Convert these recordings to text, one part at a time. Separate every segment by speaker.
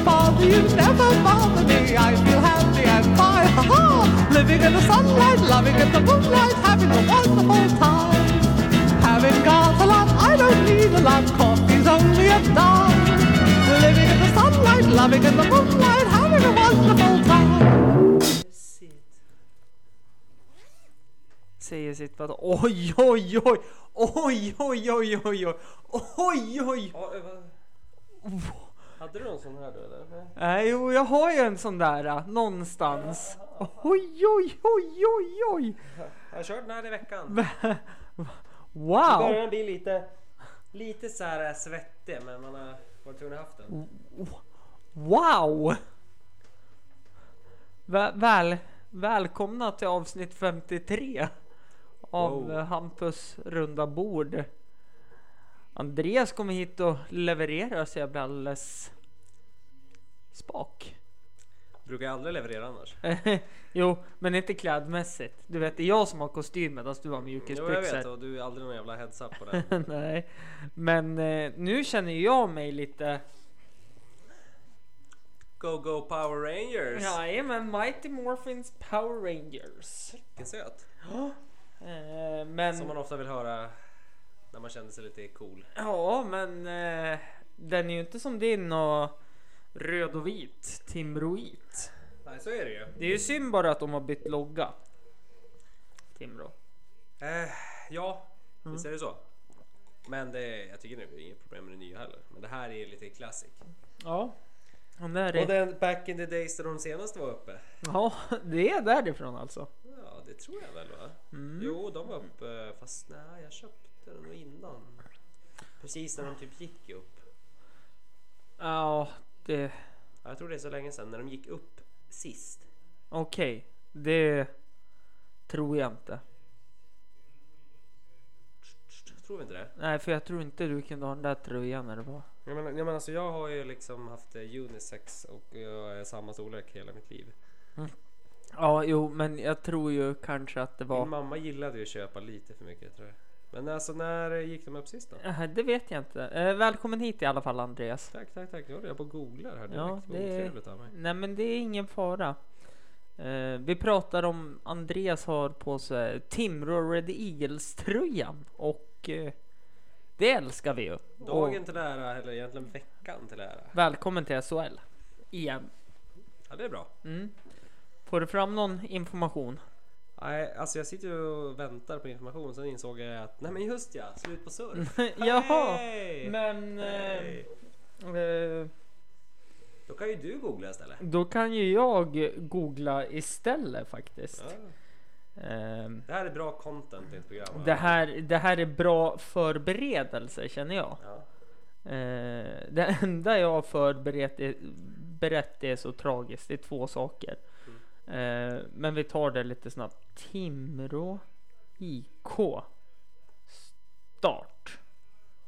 Speaker 1: Dreams never bother me. I feel happy and fine. Ha ha! Living in the sunlight, loving in the moonlight, having a wonderful time. Having got a lot, I don't need a lot. Coffee's only a dime. Living in the sunlight, loving in the moonlight, having a wonderful time.
Speaker 2: Säger sitt vatten. Oj, oj, oj! Oj, oj, oj, oj, oj! Oj, oj!
Speaker 3: Ja, eh, vad- Hade du någon sån här då eller? Nej.
Speaker 2: Nej, jo, jag har ju en sån där äh, någonstans. Oj, oj, oj, oj, oj!
Speaker 3: Jag har kört den här i veckan.
Speaker 2: Wow!
Speaker 3: Början blir lite, lite så här eh, svettig men man har varit tvungen att haft den.
Speaker 2: Wow! Vä- Väl, välkomna till avsnitt 53 av
Speaker 3: Wow.
Speaker 2: eh, Hampus runda bord. Andreas kommer hit och levererar så jag blir alldeles spak.
Speaker 3: Brukar jag aldrig leverera annars.
Speaker 2: jo, men inte klädmässigt. Du vet, det är jag som har kostym medan du har
Speaker 3: Jo jag vet
Speaker 2: mjukisbyxor.
Speaker 3: och du är aldrig någon jävla heads up på den.
Speaker 2: Nej, men eh, nu känner jag mig lite...
Speaker 3: Go Go Power Rangers!
Speaker 2: men Mighty Morphins Power Rangers.
Speaker 3: Vilken söt!
Speaker 2: Eh, men...
Speaker 3: Som man ofta vill höra när man känner sig lite cool.
Speaker 2: Ja, men eh, den är ju inte som din och röd och vit, Timroit.
Speaker 3: Nej så är det ju.
Speaker 2: Det är ju synd bara att de har bytt logga. Timrå.
Speaker 3: Eh, ja, visst är det så. Men det, jag tycker det är inget problem med det nya heller. Men det här är lite classic.
Speaker 2: Ja. Och där
Speaker 3: Och
Speaker 2: är...
Speaker 3: den back in the days då de senaste var uppe.
Speaker 2: Ja, det är därifrån alltså.
Speaker 3: Ja, det tror jag väl va? Jo, de var uppe. Fast nej, jag köpte den nog innan. Precis när de typ gick upp.
Speaker 2: Ja, det...
Speaker 3: Ja, Jag tror det är så länge sedan när de gick upp sist.
Speaker 2: Okej, det tror jag inte.
Speaker 3: Tror vi inte det?
Speaker 2: Nej, för jag tror inte du kunde ha den där tröjan när det var.
Speaker 3: Jag menar, jag, menar, så jag har ju liksom haft eh, unisex och eh, jag är samma storlek hela mitt liv.
Speaker 2: Ja, jo, men jag tror ju kanske att det var...
Speaker 3: Min mamma gillade ju att köpa lite för mycket tror jag. Men alltså när eh, gick de upp sist då?
Speaker 2: Eh, Det vet jag inte. Eh, Välkommen hit i alla fall Andreas.
Speaker 3: Tack, tack, tack. Nu håller jag på och googlar här
Speaker 2: Ja,
Speaker 3: direkt. Ja,
Speaker 2: det
Speaker 3: det
Speaker 2: är-
Speaker 3: otrevligt av mig.
Speaker 2: Nej men det är ingen fara. Eh, vi pratar om Andreas har på sig Timrå Red Eagles tröjan och eh, det älskar vi ju.
Speaker 3: Dagen
Speaker 2: Och
Speaker 3: till ära, eller egentligen veckan till ära.
Speaker 2: välkommen till SHL. Igen.
Speaker 3: Ja, det är bra.
Speaker 2: Mm. Får du fram någon information?
Speaker 3: Nej, alltså jag sitter ju och väntar på information, sen insåg jag att nej men just ja, slut på surf.
Speaker 2: Jaha.
Speaker 3: Hey!
Speaker 2: Men eh,
Speaker 3: Hey!
Speaker 2: eh,
Speaker 3: Då kan ju du googla istället.
Speaker 2: då kan ju jag googla istället faktiskt.
Speaker 3: Ja.
Speaker 2: Ehm,
Speaker 3: Det här är bra content i ett program.
Speaker 2: det, här, det här är bra förberedelse känner jag.
Speaker 3: Ja.
Speaker 2: Eh, det enda jag har förberett är, berett är så tragiskt. Det är två saker. Eh, men vi tar det lite snabbt. Timrå IK. Start.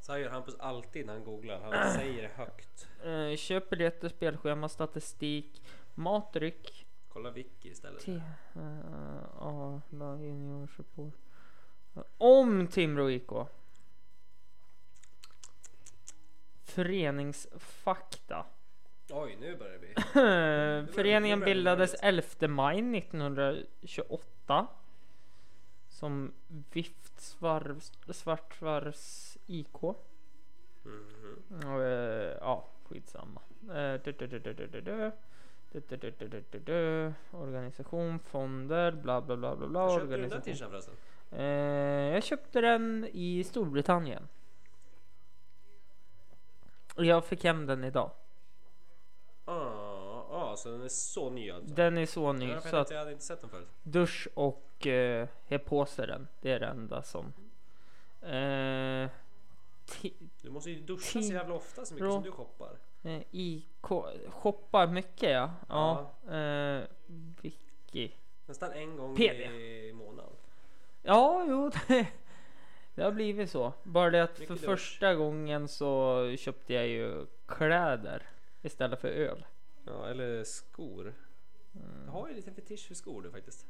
Speaker 3: Så här gör Hampus alltid när han googlar. Han säger det högt.
Speaker 2: Eh, köp biljetter, spelschema, statistik, matdryck.
Speaker 3: Kolla Vicky istället.
Speaker 2: T- eh, Arla Junior Support. Om Timrå IK. Föreningsfakta.
Speaker 3: Oj, nu börjar det bli.
Speaker 2: Eh, Föreningen
Speaker 3: Mm. det var
Speaker 2: bildades
Speaker 3: väldigt
Speaker 2: 11 maj 1928 som Vift Svarvs- Svartsvarvs IK.
Speaker 3: Mhm.
Speaker 2: Och, eh, Ja, skitsamma. Eh, du, du, du, du, du, du, du. Du, du, du, du, du, du, du. Organisation, fonder, bla bla bla bla bla.
Speaker 3: Var Köpte du den där
Speaker 2: organisation.
Speaker 3: t-shirten förresten?
Speaker 2: Eh, jag köpte den i Storbritannien. Och jag fick hem den idag.
Speaker 3: Ja, ah, ah, så den är så ny alltså.
Speaker 2: Den är så ny
Speaker 3: jag,
Speaker 2: så att
Speaker 3: jag hade inte sett den förut.
Speaker 2: dusch och eh, he på sig den. Det är det enda som. Eh, ti-
Speaker 3: Du måste ju duscha så
Speaker 2: Ti-
Speaker 3: jävla ofta så mycket
Speaker 2: Bra.
Speaker 3: som du shoppar.
Speaker 2: eh, IK shoppar mycket ja. Ja. Eh, Vicky.
Speaker 3: Nästan en gång
Speaker 2: PV.
Speaker 3: i månaden.
Speaker 2: Ja, jo. Det, det har blivit så. Bara det att för
Speaker 3: Mycket dusch.
Speaker 2: första gången så köpte jag ju kläder istället för öl.
Speaker 3: Ja, eller skor.
Speaker 2: Mm.
Speaker 3: Jag har ju en liten fetisch för skor du faktiskt.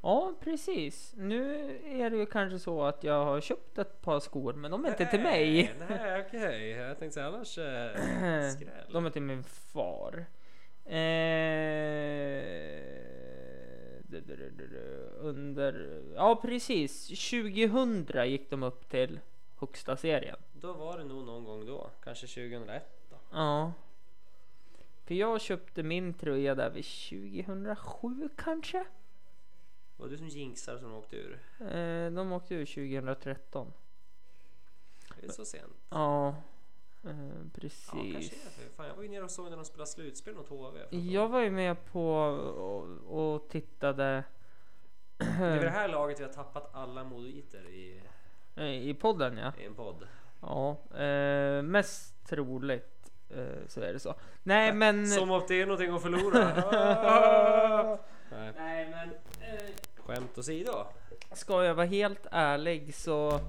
Speaker 2: Ja, precis. Nu är det ju kanske så att jag har köpt ett par skor, men de är inte till mig.
Speaker 3: Nej, nej, okej. Jag tänkte säga annars eh, skräll.
Speaker 2: De är till min far. Eh, du- du- du- du- du, under, ja precis, 2000 gick de upp till högsta serien.
Speaker 3: Då var det nog någon gång då. Kanske 2001 då.
Speaker 2: Ja. För jag köpte min tröja där vid 2007 kanske?
Speaker 3: Var det du som jinxade som åkte ur?
Speaker 2: Eh, de åkte ur 2013.
Speaker 3: Det är så sent.
Speaker 2: Ja, eh,
Speaker 3: Ja, kanske är det.
Speaker 2: precis.
Speaker 3: för Fan, jag var ju nere och såg när de spelade slutspel mot HV. för att-
Speaker 2: Jag var ju med på och, och tittade
Speaker 3: Det är väl det här laget vi har tappat alla moditer i,
Speaker 2: eh, i podden ja.
Speaker 3: i en podd.
Speaker 2: Ja, eh, mest troligt eh, så är det så. Nej men...
Speaker 3: Som om det är någonting att förlora. Nej,
Speaker 2: Nej men... Eh,
Speaker 3: skämt åsido.
Speaker 2: ska jag vara helt ärlig så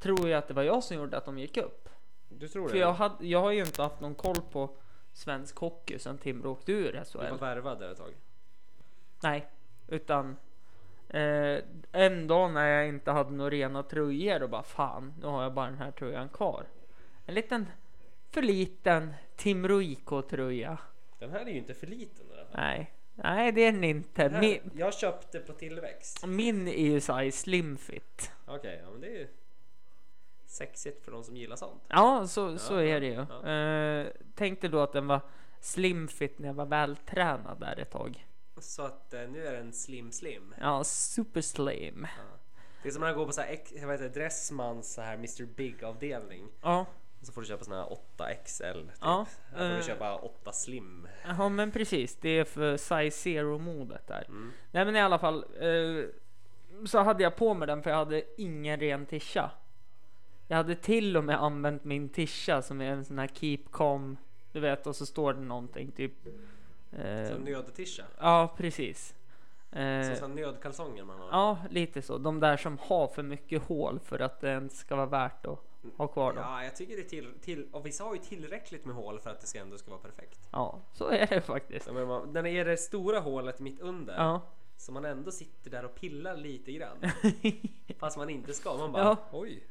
Speaker 2: tror jag att det var jag som gjorde att de gick upp.
Speaker 3: Du tror
Speaker 2: För jag, hade, jag har ju inte haft någon koll på svensk hockey sedan Timrå åkte ur
Speaker 3: Du var
Speaker 2: SHL.
Speaker 3: värvad där ett tag.
Speaker 2: Nej, utan eh, en dag när jag inte hade några rena tröjor och bara fan, nu har jag bara den här tröjan kvar. En liten för liten Timrå IK tröja.
Speaker 3: Den här är ju inte för liten. Den här.
Speaker 2: Nej, nej det är den inte.
Speaker 3: Den
Speaker 2: Min,
Speaker 3: här, jag köpte på tillväxt.
Speaker 2: min är ju såhär slim fit.
Speaker 3: Okej, ja, men det är ju sexigt för de som gillar sånt.
Speaker 2: Ja, så, så
Speaker 3: Ja,
Speaker 2: är
Speaker 3: ja,
Speaker 2: det ju.
Speaker 3: ja.
Speaker 2: Eh, tänkte då att den var slim fit när jag var vältränad där ett tag.
Speaker 3: Så att eh, nu är den slim slim.
Speaker 2: Ja, super slim.
Speaker 3: Det är som när man går på så här, ex- vad heter det, Dressmans så här Mr Big avdelning.
Speaker 2: Ja,
Speaker 3: Så får du köpa såna här 8XL. Typ.
Speaker 2: Ja,
Speaker 3: Här får
Speaker 2: eh.
Speaker 3: du köpa 8 slim.
Speaker 2: ja men precis. Det är för size zero modet där.
Speaker 3: Mm.
Speaker 2: Nej men i alla fall. Eh, så hade jag på mig den för jag hade ingen ren tisha. Jag hade till och med använt min tisha som är en sån här keep calm. Du vet och så står det någonting typ. eh,
Speaker 3: Som nödtisha.
Speaker 2: Ja, precis. Eh,
Speaker 3: Som sån nödkalsonger man har.
Speaker 2: ja, lite så. De där som har för mycket hål för att det ens ska vara värt att ha kvar dem. Ja,
Speaker 3: Ja, jag tycker det är till, till och vissa har ju tillräckligt med hål för att det ska ändå ska vara perfekt.
Speaker 2: så är det faktiskt.
Speaker 3: Jag menar, man- när det är det stora hålet mitt under
Speaker 2: Ja,
Speaker 3: så man ändå sitter där och pillar lite grann. Fast man inte ska. Man bara
Speaker 2: Ja.
Speaker 3: oj.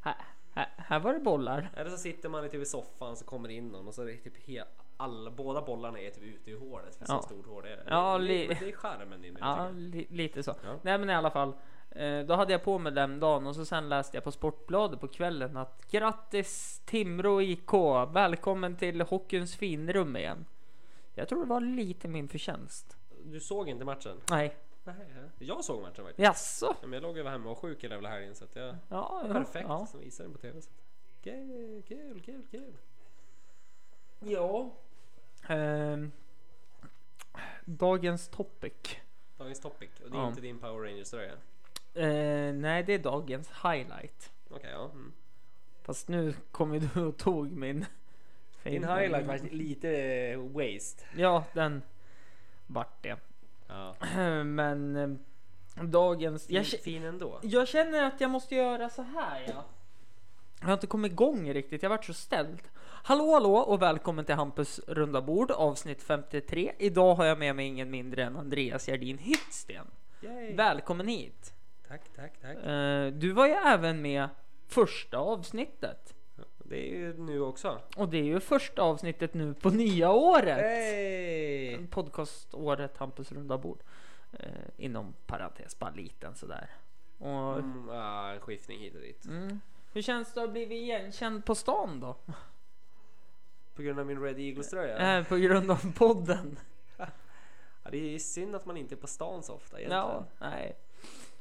Speaker 2: här, här, här var det bollar.
Speaker 3: Eller så sitter man typ i soffan så kommer det in någon och så är det typ he- alla, båda bollarna är typ ute i hålet för
Speaker 2: Ja.
Speaker 3: så stort hål är det.
Speaker 2: Ja,
Speaker 3: Men det,
Speaker 2: li-
Speaker 3: men det är charmen i det.
Speaker 2: Ja,
Speaker 3: tycker
Speaker 2: li, lite så.
Speaker 3: Ja.
Speaker 2: Nej, men i alla fall. Eh, då hade jag på mig den dagen och så sen läste jag på Sportbladet på kvällen att grattis Timrå IK! Välkommen till hockeyns finrum igen. Jag tror det var lite min förtjänst.
Speaker 3: jag. Du såg inte matchen?
Speaker 2: Nej,
Speaker 3: Nej, jag såg matchen faktiskt.
Speaker 2: jaså?
Speaker 3: Ja, Men jag låg ju hemma och var sjuk hela jävla helgen så att jag...
Speaker 2: Ja, ja,
Speaker 3: Perfekt,
Speaker 2: Ja.
Speaker 3: som visar den på TV. Så att- Kul, kul, kul, kul.
Speaker 2: Ja. Ehm, dagens topic.
Speaker 3: Dagens topic och det är
Speaker 2: Ja.
Speaker 3: inte din Power Rangers tröja.
Speaker 2: Eh, nej, det är dagens highlight.
Speaker 3: Okej, ja. Mm.
Speaker 2: Fast nu kom ju du och tog min.
Speaker 3: Din highlight var lite eh, waste.
Speaker 2: Ja, den vart det.
Speaker 3: Ja.
Speaker 2: Men eh, dagens...
Speaker 3: Fin,
Speaker 2: Jag, k-
Speaker 3: fin ändå.
Speaker 2: jag känner att jag måste göra så här ja. Jag har inte kommit igång riktigt, jag vart så ställd. Hallå hallå och välkommen till Hampus runda bord avsnitt 53. Idag har jag med mig ingen mindre än Andreas Gerdin Hyttsten.
Speaker 3: Yay.
Speaker 2: Välkommen hit!
Speaker 3: Tack, tack, tack.
Speaker 2: Eh, Du var ju även med första avsnittet.
Speaker 3: Det är ju nu också.
Speaker 2: Och det är ju första avsnittet nu på nya året. Mm.
Speaker 3: Hey!
Speaker 2: Podcaståret Hampus runda bord. Eh, Inom parentes, bara liten sådär. Och,
Speaker 3: Mm, ah, en skiftning hit och dit.
Speaker 2: mm. Hur känns det att bli igenkänd på stan då?
Speaker 3: På grund av min Red Eagles tröja.
Speaker 2: Eh, På grund av podden?
Speaker 3: Ja, det är synd att man inte är på stan så ofta egentligen.
Speaker 2: Ja, nej.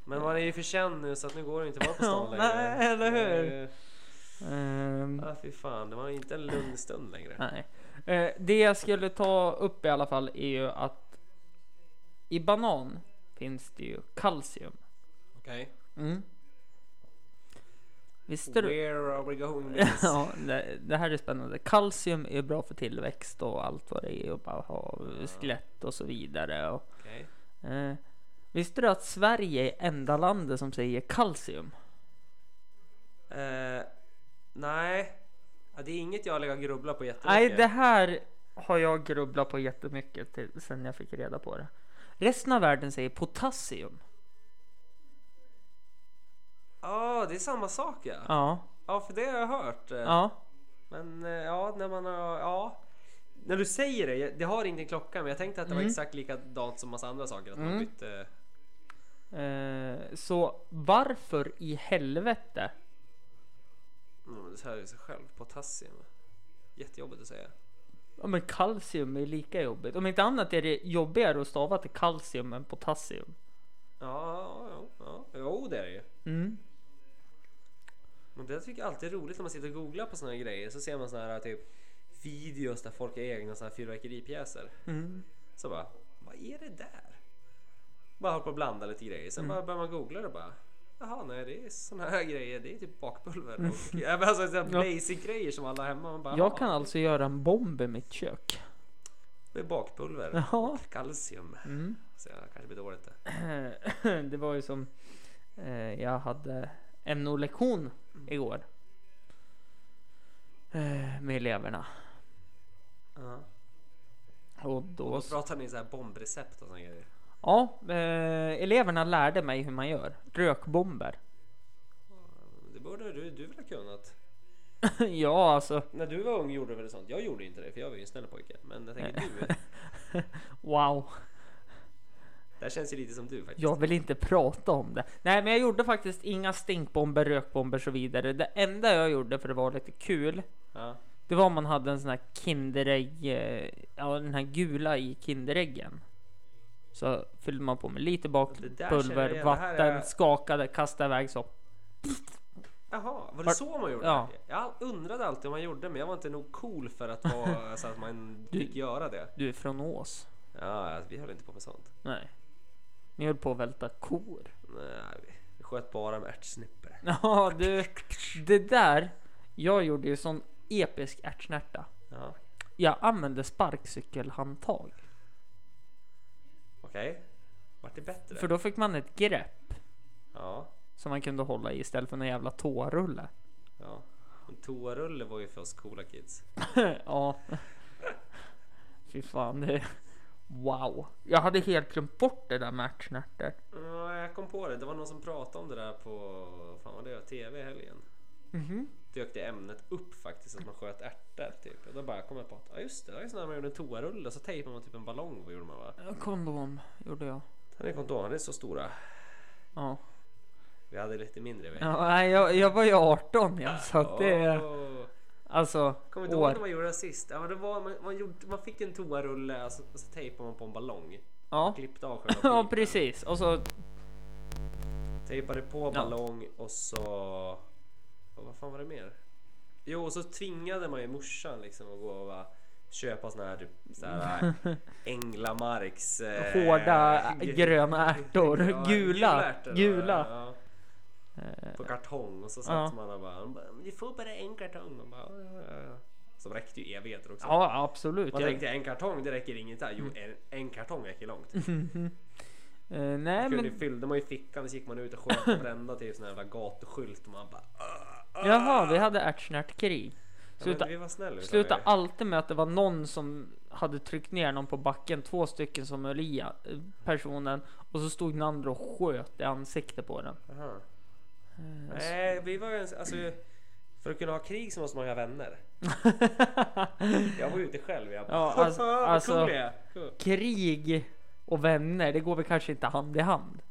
Speaker 3: Men man är ju för känd nu så att nu går det inte att vara på
Speaker 2: Ja,
Speaker 3: stan längre.
Speaker 2: nej, eller
Speaker 3: Det är
Speaker 2: hur?
Speaker 3: ju-
Speaker 2: Ehm,
Speaker 3: Ja, fy fan. Det var inte en lugn stund längre.
Speaker 2: Nej. Eh, det jag skulle ta upp i alla fall är ju att i banan finns det ju kalcium.
Speaker 3: Okej.
Speaker 2: Mm. Visste du?
Speaker 3: Where are we going with this?
Speaker 2: Ja, det, det här är spännande. Kalcium är bra för tillväxt och allt vad det är och bara ha skelett och så vidare. Och,
Speaker 3: Okej.
Speaker 2: eh, visste du att Sverige är enda landet som säger kalcium?
Speaker 3: Eh, nej. Ja, det är inget jag har legat och grubblat på jättemycket.
Speaker 2: Nej, det här har jag grubblat på jättemycket till, sen jag fick reda på det. Resten av världen säger potassium.
Speaker 3: Ja, det är samma sak ja.
Speaker 2: Ja,
Speaker 3: Ja, för det har jag hört. Eh,
Speaker 2: ja.
Speaker 3: Men eh, ja, när man har... Ja. När du säger det, jag- det har inte en klocka men jag tänkte att det var
Speaker 2: Mm.
Speaker 3: exakt likadant som massa andra saker. Att man
Speaker 2: Mm.
Speaker 3: bytte...
Speaker 2: Eh, så varför i helvete?
Speaker 3: Mm, men det här är sig själv på tassium. Jättejobbigt att säga.
Speaker 2: Ja, men kalcium är lika jobbigt. Om inte annat är det jobbigare att stava till kalcium än potassium.
Speaker 3: Ja, ja, ja. Jo, det är det ju.
Speaker 2: Mm.
Speaker 3: Men det tycker jag alltid är roligt när man sitter och googlar på såna här grejer. Så ser man såna här typ videos där folk har egna såna här fyrverkeripjäser.
Speaker 2: Mm.
Speaker 3: Så bara, vad är det där? Bara håller på att blanda lite grejer. Sen
Speaker 2: Mm.
Speaker 3: bara börjar man googla det och bara. Jaha, nej det är såna här grejer. Det är typ bakpulver. Och, ja, men alltså såna här
Speaker 2: Mm. Ja.
Speaker 3: basic grejer som alla har hemma. Man bara,
Speaker 2: Jag kan
Speaker 3: "Ja,
Speaker 2: alltså göra en bomb i mitt kök.
Speaker 3: Med bakpulver
Speaker 2: Jaha.
Speaker 3: och kalcium.
Speaker 2: Mm.
Speaker 3: Så jag kanske blir dåligt där.
Speaker 2: det var ju som eh, jag hade NO-lektion igår. Eh, med eleverna. Och då...
Speaker 3: Och pratar ni så här bombrecept och såna grejer?
Speaker 2: Ja, eh, eleverna lärde mig hur man gör. Rökbomber.
Speaker 3: Det borde du, du väl ha kunnat?
Speaker 2: ja, alltså.
Speaker 3: När du var ung gjorde du väl sånt? Jag gjorde ju inte det för jag var ju en snäll pojke. Men jag tänker du,
Speaker 2: Wow.
Speaker 3: det här känns ju lite som du faktiskt.
Speaker 2: Jag vill inte prata om det. Nej, men jag gjorde faktiskt inga stinkbomber, rökbomber och så vidare. Det enda jag gjorde för det var lite kul.
Speaker 3: Ja.
Speaker 2: Det var om man hade en sån här Kinderägg, eh, ja den här gula i Kinderäggen. Så fyllde man på med lite
Speaker 3: Det där känner jag
Speaker 2: bakpulver,
Speaker 3: igen. Det här
Speaker 2: vatten,
Speaker 3: är-
Speaker 2: skakade, kastade iväg så.
Speaker 3: Jaha, var det
Speaker 2: Har-
Speaker 3: så man gjorde?
Speaker 2: Ja.
Speaker 3: Jag all- undrade alltid om man gjorde men jag var inte nog cool för att vara så att man
Speaker 2: Du-
Speaker 3: fick göra det.
Speaker 2: Du är från Ås?
Speaker 3: Ja, alltså, vi höll inte på med sånt.
Speaker 2: Nej. Ni höll på att välta kor.
Speaker 3: Nej, vi, vi sköt bara med ärtsnippor.
Speaker 2: Ja du, det där. Jag gjorde ju sån episk ärtsnärta.
Speaker 3: Ja.
Speaker 2: Jag använde sparkcykelhandtag.
Speaker 3: Okej. Vart det bättre?
Speaker 2: För då fick man ett grepp
Speaker 3: Ja.
Speaker 2: som man kunde hålla i istället för en jävla toarulle.
Speaker 3: ja. En toarulle var ju för oss coola kids.
Speaker 2: ja. Fy fan, det... Wow. Jag hade helt glömt bort det där med ärtsnärtor.
Speaker 3: Ja, jag kom på det. Det var någon som pratade om det där på fan vad det var, TV i helgen.
Speaker 2: Mhm.
Speaker 3: Dök det ämnet upp faktiskt att man sköt ärtor typ. Och då bara kom jag på att ja just det, det var ju sån där man gjorde en toarulle och så tejpade man typ en ballong. Vad gjorde man va?
Speaker 2: Kondom gjorde jag.
Speaker 3: Han är kontoren, det är så stora.
Speaker 2: Ja.
Speaker 3: Vi hade lite mindre vet
Speaker 2: ja nej, jag, jag var ju 18 ja, så att det är...
Speaker 3: Åh.
Speaker 2: Alltså,
Speaker 3: Kommer du ihåg när
Speaker 2: år.
Speaker 3: man gjorde det sist? Ja, men det var, man, man, gjorde, man fick en toarulle och så, och så tejpade man på en ballong.
Speaker 2: Ja.
Speaker 3: Klippte av själva
Speaker 2: ja,
Speaker 3: pipen,
Speaker 2: precis. Och så...
Speaker 3: Tejpade på ballong och så... Och vad fan var det mer? Jo, och så tvingade man ju morsan liksom att gå och bara köpa såna här typ så här Änglamarks... eh,
Speaker 2: Hårda
Speaker 3: gre-
Speaker 2: gröna ärtor.
Speaker 3: Ja,
Speaker 2: Gula.
Speaker 3: ärtor,
Speaker 2: Gula.
Speaker 3: ja.
Speaker 2: Eh,
Speaker 3: på kartong och så satt
Speaker 2: Ja.
Speaker 3: man och bara, "Men du får bara en kartong. Man bara, "Ja, ja, ja." Så räckte ju evigheter också.
Speaker 2: Ja, Mm. absolut.
Speaker 3: Man
Speaker 2: Jag-
Speaker 3: tänkte en kartong, det räcker inget där. Jo, en, en kartong räcker långt.
Speaker 2: Eh, nej,
Speaker 3: Kunde,
Speaker 2: men...
Speaker 3: Fyllde man ju fickan så gick man ut och sköt varenda till sån här jävla gatuskylt och man bara... "Ah, ah."
Speaker 2: Jaha, vi hade ärtsnärtkrig.
Speaker 3: Ja,
Speaker 2: Sluta
Speaker 3: men vi var snälla utav
Speaker 2: Sluta
Speaker 3: er.
Speaker 2: alltid med att det var någon som hade tryckt ner någon på backen, två stycken som höll i eh, personen och så stod den andra och sköt i ansiktet på den.
Speaker 3: Jaha.
Speaker 2: Eh, så-
Speaker 3: Nej, vi var ju ens- alltså, För att kunna ha krig så måste man ju ha vänner. Jag var ute själv. Jag bara,
Speaker 2: Ja, alltså-
Speaker 3: "Vad
Speaker 2: alltså-
Speaker 3: cool jag är." Cool.
Speaker 2: Krig och vänner, det går väl kanske inte hand i hand?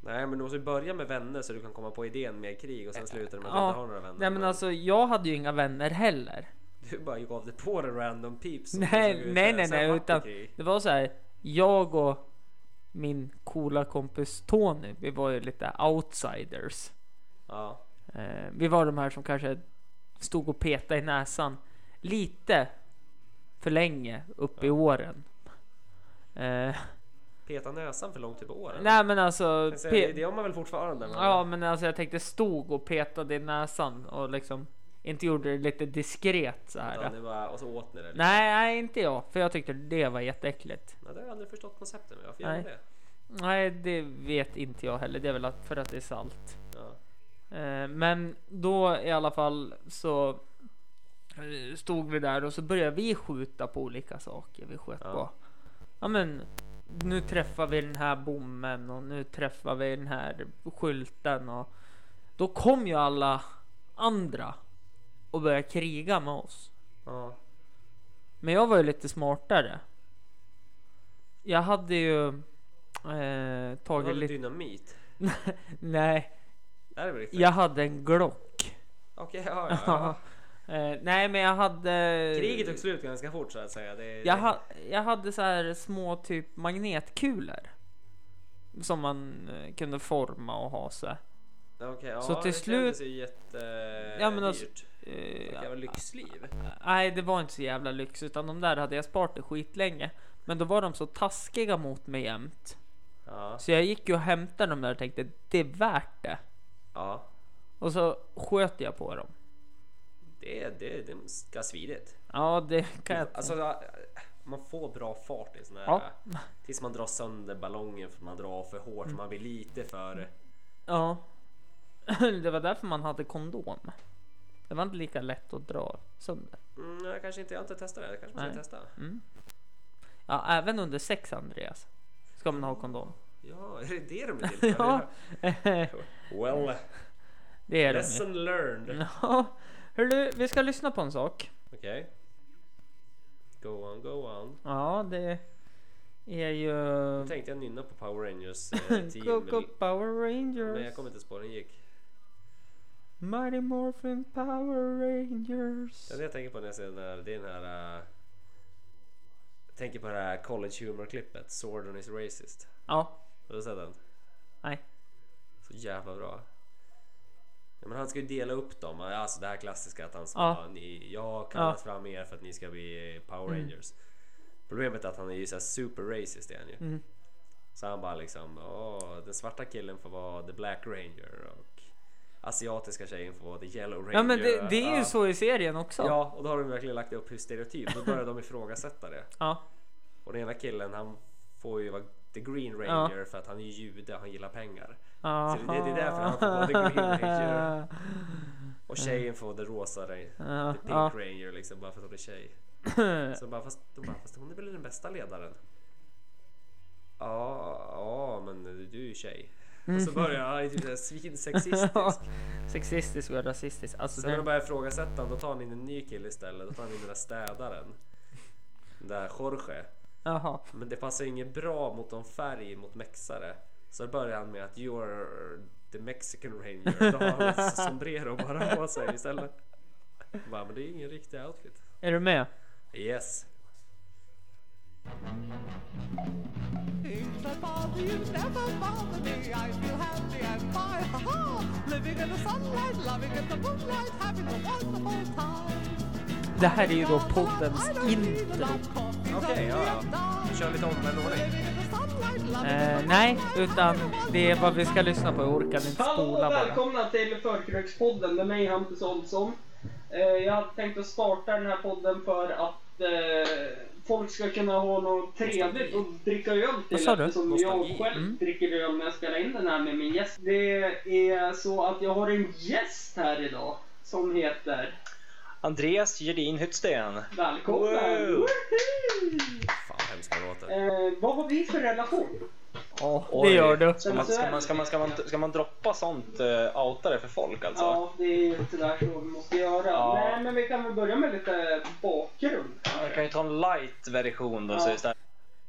Speaker 3: Nej, men du måste ju börja med vänner så du kan komma på idén med krig och sen slutar det med att du inte har några vänner.
Speaker 2: Eh, nej men alltså jag hade ju inga vänner heller.
Speaker 3: Du bara gav dig på den random peeps. som såg
Speaker 2: Nej,
Speaker 3: ut
Speaker 2: nej,
Speaker 3: där.
Speaker 2: nej,
Speaker 3: Sen
Speaker 2: nej
Speaker 3: vart det
Speaker 2: utan
Speaker 3: krig.
Speaker 2: det var så här. Jag och min coola kompis Tony, vi var ju lite outsiders.
Speaker 3: Ja.
Speaker 2: Eh, vi var de här som kanske stod och petade i näsan lite för länge upp i åren. Eh,
Speaker 3: Peta näsan för långt typ upp i åren.
Speaker 2: nej men alltså,
Speaker 3: Alltså, det,
Speaker 2: pe-
Speaker 3: det gör man väl fortfarande? men-
Speaker 2: ja, men alltså jag tänkte stod och petade i näsan och liksom inte gjorde det lite diskret så här.
Speaker 3: Utan det bara, och så åt ni det. liksom.
Speaker 2: Nej, nej, inte jag, för jag tyckte det var jätteäckligt.
Speaker 3: Nej, det har jag aldrig förstått konceptet med. Varför gör man
Speaker 2: Nej.
Speaker 3: det?
Speaker 2: Nej, det vet inte jag heller. Det är väl att, för att det är salt.
Speaker 3: Ja.
Speaker 2: Eh, Men då i alla fall så eh, stod vi där och så började vi skjuta på olika saker. Vi sköt
Speaker 3: Ja.
Speaker 2: på. Ja men nu träffar vi den här bommen och nu träffar vi den här skylten och då kom ju alla andra och började kriga med oss.
Speaker 3: Ja.
Speaker 2: Men jag var ju lite smartare. Jag hade ju eh,
Speaker 3: Har
Speaker 2: tagit
Speaker 3: du
Speaker 2: lite...
Speaker 3: dynamit?
Speaker 2: Nej,
Speaker 3: Är det väl riktigt?
Speaker 2: jag hade en Glock.
Speaker 3: Okej, ja, ja, ja.
Speaker 2: Eh, nej, men jag hade...
Speaker 3: Kriget tog slut ganska fort så att säga. Det,
Speaker 2: Jag,
Speaker 3: det-
Speaker 2: ha, jag hade så här små typ magnetkulor. Som man eh, kunde forma och ha så. här.
Speaker 3: Okej, ja,
Speaker 2: så till
Speaker 3: det
Speaker 2: slut-
Speaker 3: kändes ju jätte...
Speaker 2: Ja, men alltså-
Speaker 3: dyrt.
Speaker 2: Eh,
Speaker 3: Vilket jävla lyxliv.
Speaker 2: Nej, det var inte så jävla lyx utan de där hade jag sparat i skitlänge. Men då var de så taskiga mot mig jämt.
Speaker 3: Ja,
Speaker 2: Så jag gick ju och hämtade dem där och tänkte det är värt det.
Speaker 3: ja.
Speaker 2: Och så sköt jag på dem.
Speaker 3: Det, det, det är ska svidigt.
Speaker 2: Ja, det kan jag
Speaker 3: Alltså, äh, ja, man får bra fart i sån här...
Speaker 2: Ja.
Speaker 3: Tills man drar sönder ballongen för att man drar för hårt.
Speaker 2: Mm.
Speaker 3: Man blir lite för...
Speaker 2: Ja. Det var därför man hade kondom. Det var inte lika lätt att dra sönder.
Speaker 3: Mm, jag kanske inte, jag har inte testat det. Jag kanske måste
Speaker 2: Nej.
Speaker 3: testa.
Speaker 2: Ja, även under sex Andreas. Ska man ha kondom.
Speaker 3: Ja, är det det de är till för?
Speaker 2: Ja.
Speaker 3: Well,
Speaker 2: Det är det ju.
Speaker 3: lesson learned.
Speaker 2: Ja. Hörru, vi ska lyssna på en sak.
Speaker 3: Okej. Go on, go on.
Speaker 2: Ja, det är ju...
Speaker 3: Nu tänkte jag nynna på Power Rangers eh, team.
Speaker 2: Go, go Power
Speaker 3: Men jag
Speaker 2: Rangers.
Speaker 3: kommer inte spå den gick.
Speaker 2: Mighty Morphin Power Rangers.
Speaker 3: Det enda jag tänker på när jag ser den här, det är den här... eh, jag tänker på det här college humor-klippet. Swordon is racist.
Speaker 2: Ja,
Speaker 3: Har du sett den?
Speaker 2: nej.
Speaker 3: Så jävla bra. Ja, men han ska ju dela upp dem. Alltså det här klassiska att han ska...
Speaker 2: Ja.
Speaker 3: Ni, jag kallas fram er för att ni ska bli Power
Speaker 2: Mm.
Speaker 3: Rangers. Problemet är att han är ju så här super racist är han ju.
Speaker 2: Mm.
Speaker 3: Så han bara liksom... Åh, den svarta killen får vara the black ranger och asiatiska tjejen får vara the yellow ranger.
Speaker 2: Ja men det, det är ju
Speaker 3: Ja.
Speaker 2: så i serien också.
Speaker 3: Ja, och då har de verkligen lagt upp hur stereotyp. Då börjar de ifrågasätta det.
Speaker 2: Ja.
Speaker 3: Och den ena killen han får ju vara the green
Speaker 2: Ja.
Speaker 3: ranger för att han är jude och han gillar pengar.
Speaker 2: Aha.
Speaker 3: det- det är därför han får vara The Green Ranger. Och
Speaker 2: Mm.
Speaker 3: tjejen får det rosa ranger.
Speaker 2: Ja,
Speaker 3: The Pink
Speaker 2: ja.
Speaker 3: Ranger liksom bara för att hon är tjej. Så bara fast, de bara, fast hon är väl den bästa ledaren? Ja, ja men du är ju tjej. Och så börjar han är typ såhär svinsexistisk.
Speaker 2: Sexistisk och rasistisk. Alltså,
Speaker 3: Sen när de
Speaker 2: den,
Speaker 3: börjar ifrågasätta honom då tar han in en ny kille istället. Då tar han in den där städaren. Den där Jorge.
Speaker 2: aha.
Speaker 3: Men det passar ju inget bra mot någon färg mot mexare. Så då börjar han med att you are the mexican ranger. Då har han ett sombrero bara på sig istället. Bara, men det är ju ingen riktig outfit.
Speaker 2: Är du med?
Speaker 3: Yes.
Speaker 1: Things that bother you never bother me. I feel happy and fine. Ha ha! Living in the sunlight, loving in the moonlight, having a wonderful time.
Speaker 2: Det här är ju då poddens intro.
Speaker 3: Okej, ja, ja. Vi kör lite omvänd ordning.
Speaker 2: Eh, nej, utan det är vad vi ska lyssna på. Jag orkade inte
Speaker 4: Hallå
Speaker 2: spola
Speaker 4: och
Speaker 2: bara.
Speaker 4: välkomna till Förkrökspodden med mig Hampus Olsson. Eh, Jag hade tänkt att starta den här podden för att eh, folk ska kunna ha något trevligt att dricka öl till
Speaker 2: Vad sa du? Mm.
Speaker 4: eftersom
Speaker 3: Nostalgi.
Speaker 4: jag själv dricker öl när jag spelar in den här med min gäst. Det är så att jag har en gäst här idag som heter
Speaker 5: Andreas Gedin Hyttsten.
Speaker 4: Välkommen!
Speaker 5: Wow.
Speaker 3: Fan vad hemskt det låter.
Speaker 4: Eh, vad har vi för relation?
Speaker 2: Ja, det gör du.
Speaker 5: Ska man, ska man, ska man, ska man, ska man droppa sånt uh, outare för folk alltså?
Speaker 4: Ja, det är ju tyvärr så vi måste göra.
Speaker 5: Ja.
Speaker 4: Nej, men vi kan väl börja med lite bakgrund.
Speaker 5: Man kan ju ta en light version då så
Speaker 4: Ja.
Speaker 5: istället.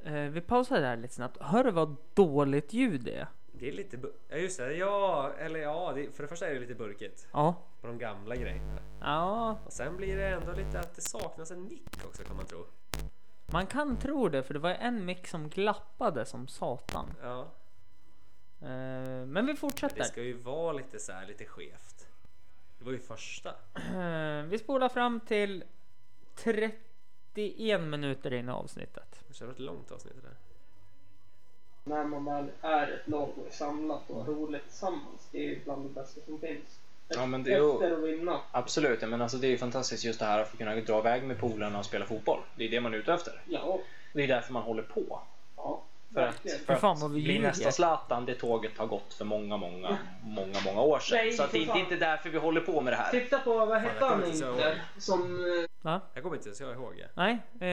Speaker 2: Eh, vi pausar där lite snabbt. Hör du vad dåligt ljud det är?
Speaker 3: Det är lite... bu- Ja just det, ja. Eller ja, det, för det första är det lite burkigt.
Speaker 2: Ja.
Speaker 3: På de gamla grejerna.
Speaker 2: Ja,
Speaker 3: Och sen blir det ändå lite att det saknas en mick också kan man tro.
Speaker 2: man kan tro det för det var en mick som glappade som satan.
Speaker 3: Ja.
Speaker 2: Eh, men vi
Speaker 3: Det
Speaker 2: fortsätter.
Speaker 3: ska ju vara lite så här lite skevt. Det var ju första.
Speaker 2: Eh, vi spolar fram till 31 minuter in i avsnittet.
Speaker 3: Det känns som ett långt avsnitt det där.
Speaker 4: när man väl är ett lag och är samlat och har roligt tillsammans. Det är ju bland det bästa som finns.
Speaker 5: Ja, men det-
Speaker 4: Efter att vinna.
Speaker 5: Absolut, ja, men alltså det är ju fantastiskt just det här att få kunna dra iväg med polarna och spela fotboll. Det är det man är ute efter.
Speaker 4: Ja,
Speaker 5: Det är därför man håller på.
Speaker 4: ja.
Speaker 5: För att,
Speaker 4: verkligen.
Speaker 5: för
Speaker 2: fan,
Speaker 5: att
Speaker 2: vad vi
Speaker 5: bli
Speaker 2: ljuger.
Speaker 5: nästa Zlatan, det tåget har gått för många, många, många, många år sedan.
Speaker 4: Nej,
Speaker 5: så att det,
Speaker 4: för
Speaker 5: är
Speaker 4: fan.
Speaker 5: inte därför vi håller på med det här.
Speaker 4: Titta på, vad
Speaker 3: jag
Speaker 4: hette
Speaker 3: kommer
Speaker 4: han
Speaker 3: inte så
Speaker 4: inte? Som... eh,
Speaker 2: Va?
Speaker 3: Jag kommer inte ens ihåg. Ja.
Speaker 2: Nej, eh,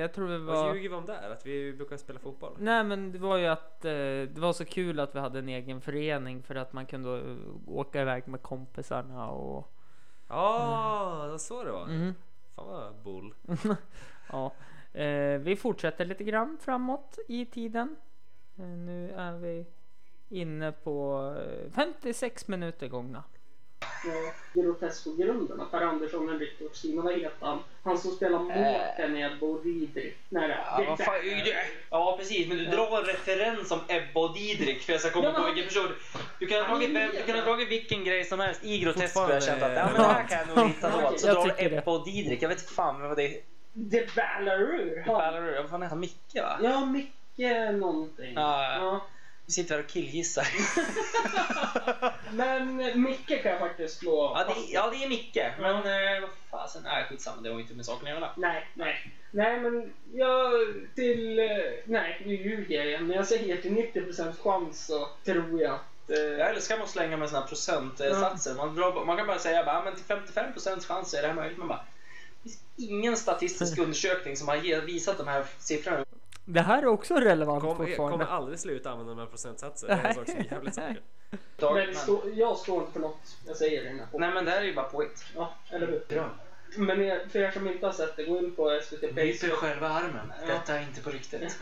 Speaker 2: jag tror vi
Speaker 3: Vad
Speaker 2: var...
Speaker 3: ljuger vi om där? Att vi brukar spela fotboll?
Speaker 2: Nej men det var ju att eh, det var så kul att vi hade en egen förening för att man kunde eh, åka iväg med kompisarna och...
Speaker 3: Ja, det var så det var.
Speaker 2: Mm.
Speaker 3: Fan vad Bull.
Speaker 2: Ja, eh, vi fortsätter lite grann framåt i tiden. Eh, nu är vi inne på eh, 56 minuter gångna.
Speaker 4: Ja, Grotesco-grundarna, Per Andersson, Henrik Dorsin, vad heter han? Han som spelar Mårten i Ebba och Didrik. Nej,
Speaker 5: Äh. Ja, vad fan, du- ja precis, men du drar en referens om Ebba och Didrik för jag ska komma
Speaker 4: Ja, men-
Speaker 5: på vilken person. Du kan ha dragit, vem- du kan ha dragit vilken grej som helst i Grotesco och
Speaker 3: Fortfarande-
Speaker 5: jag känt att ja, men det här kan jag nog hitta något. Så
Speaker 2: Jag
Speaker 5: drar du
Speaker 2: tycker det.
Speaker 5: Ebba och Didrik, jag vet fan vad det är.
Speaker 4: Det Ballarur. Ja.
Speaker 5: Ballarur, Vad fan heter han? Micke va?
Speaker 4: ja, Micke någonting.
Speaker 5: Ja, ja.
Speaker 4: Ja.
Speaker 5: Vi sitter här och killgissar.
Speaker 4: Men Micke kan jag faktiskt slå
Speaker 5: Ja det,
Speaker 4: fast.
Speaker 5: är- ja, det är Micke. Men eh, vad fasen, nej skitsamma, det var inte med saken att göra.
Speaker 4: Nej, nej. Nej, men jag till... eh, Nej, nu ljuger jag igen. Men jag säger till 90% chans så tror jag att...
Speaker 5: Jag
Speaker 4: Eh,
Speaker 5: älskar att slänga med såna här procentsatser. Man, drar, man kan bara säga bara, "Ja, men till 55% chans är det här möjligt. Man bara, det finns ingen statistisk undersökning som har ge- visat de här siffrorna.
Speaker 2: Det här är också relevant
Speaker 3: Kom, jag kommer
Speaker 2: fortfarande.
Speaker 3: aldrig sluta använda de här procentsatserna. Det är en sak som är jävligt säker.
Speaker 4: men
Speaker 5: Men,
Speaker 4: stå, jag står inte för något jag säger i den här podden.
Speaker 5: nej men det här är ju bara påhitt.
Speaker 4: Ja, eller hur? Men er, för er som inte har sett det, gå in på SVT
Speaker 5: Nyper
Speaker 4: Facebook.
Speaker 5: själva armen.
Speaker 4: Ja.
Speaker 5: Detta är inte på riktigt.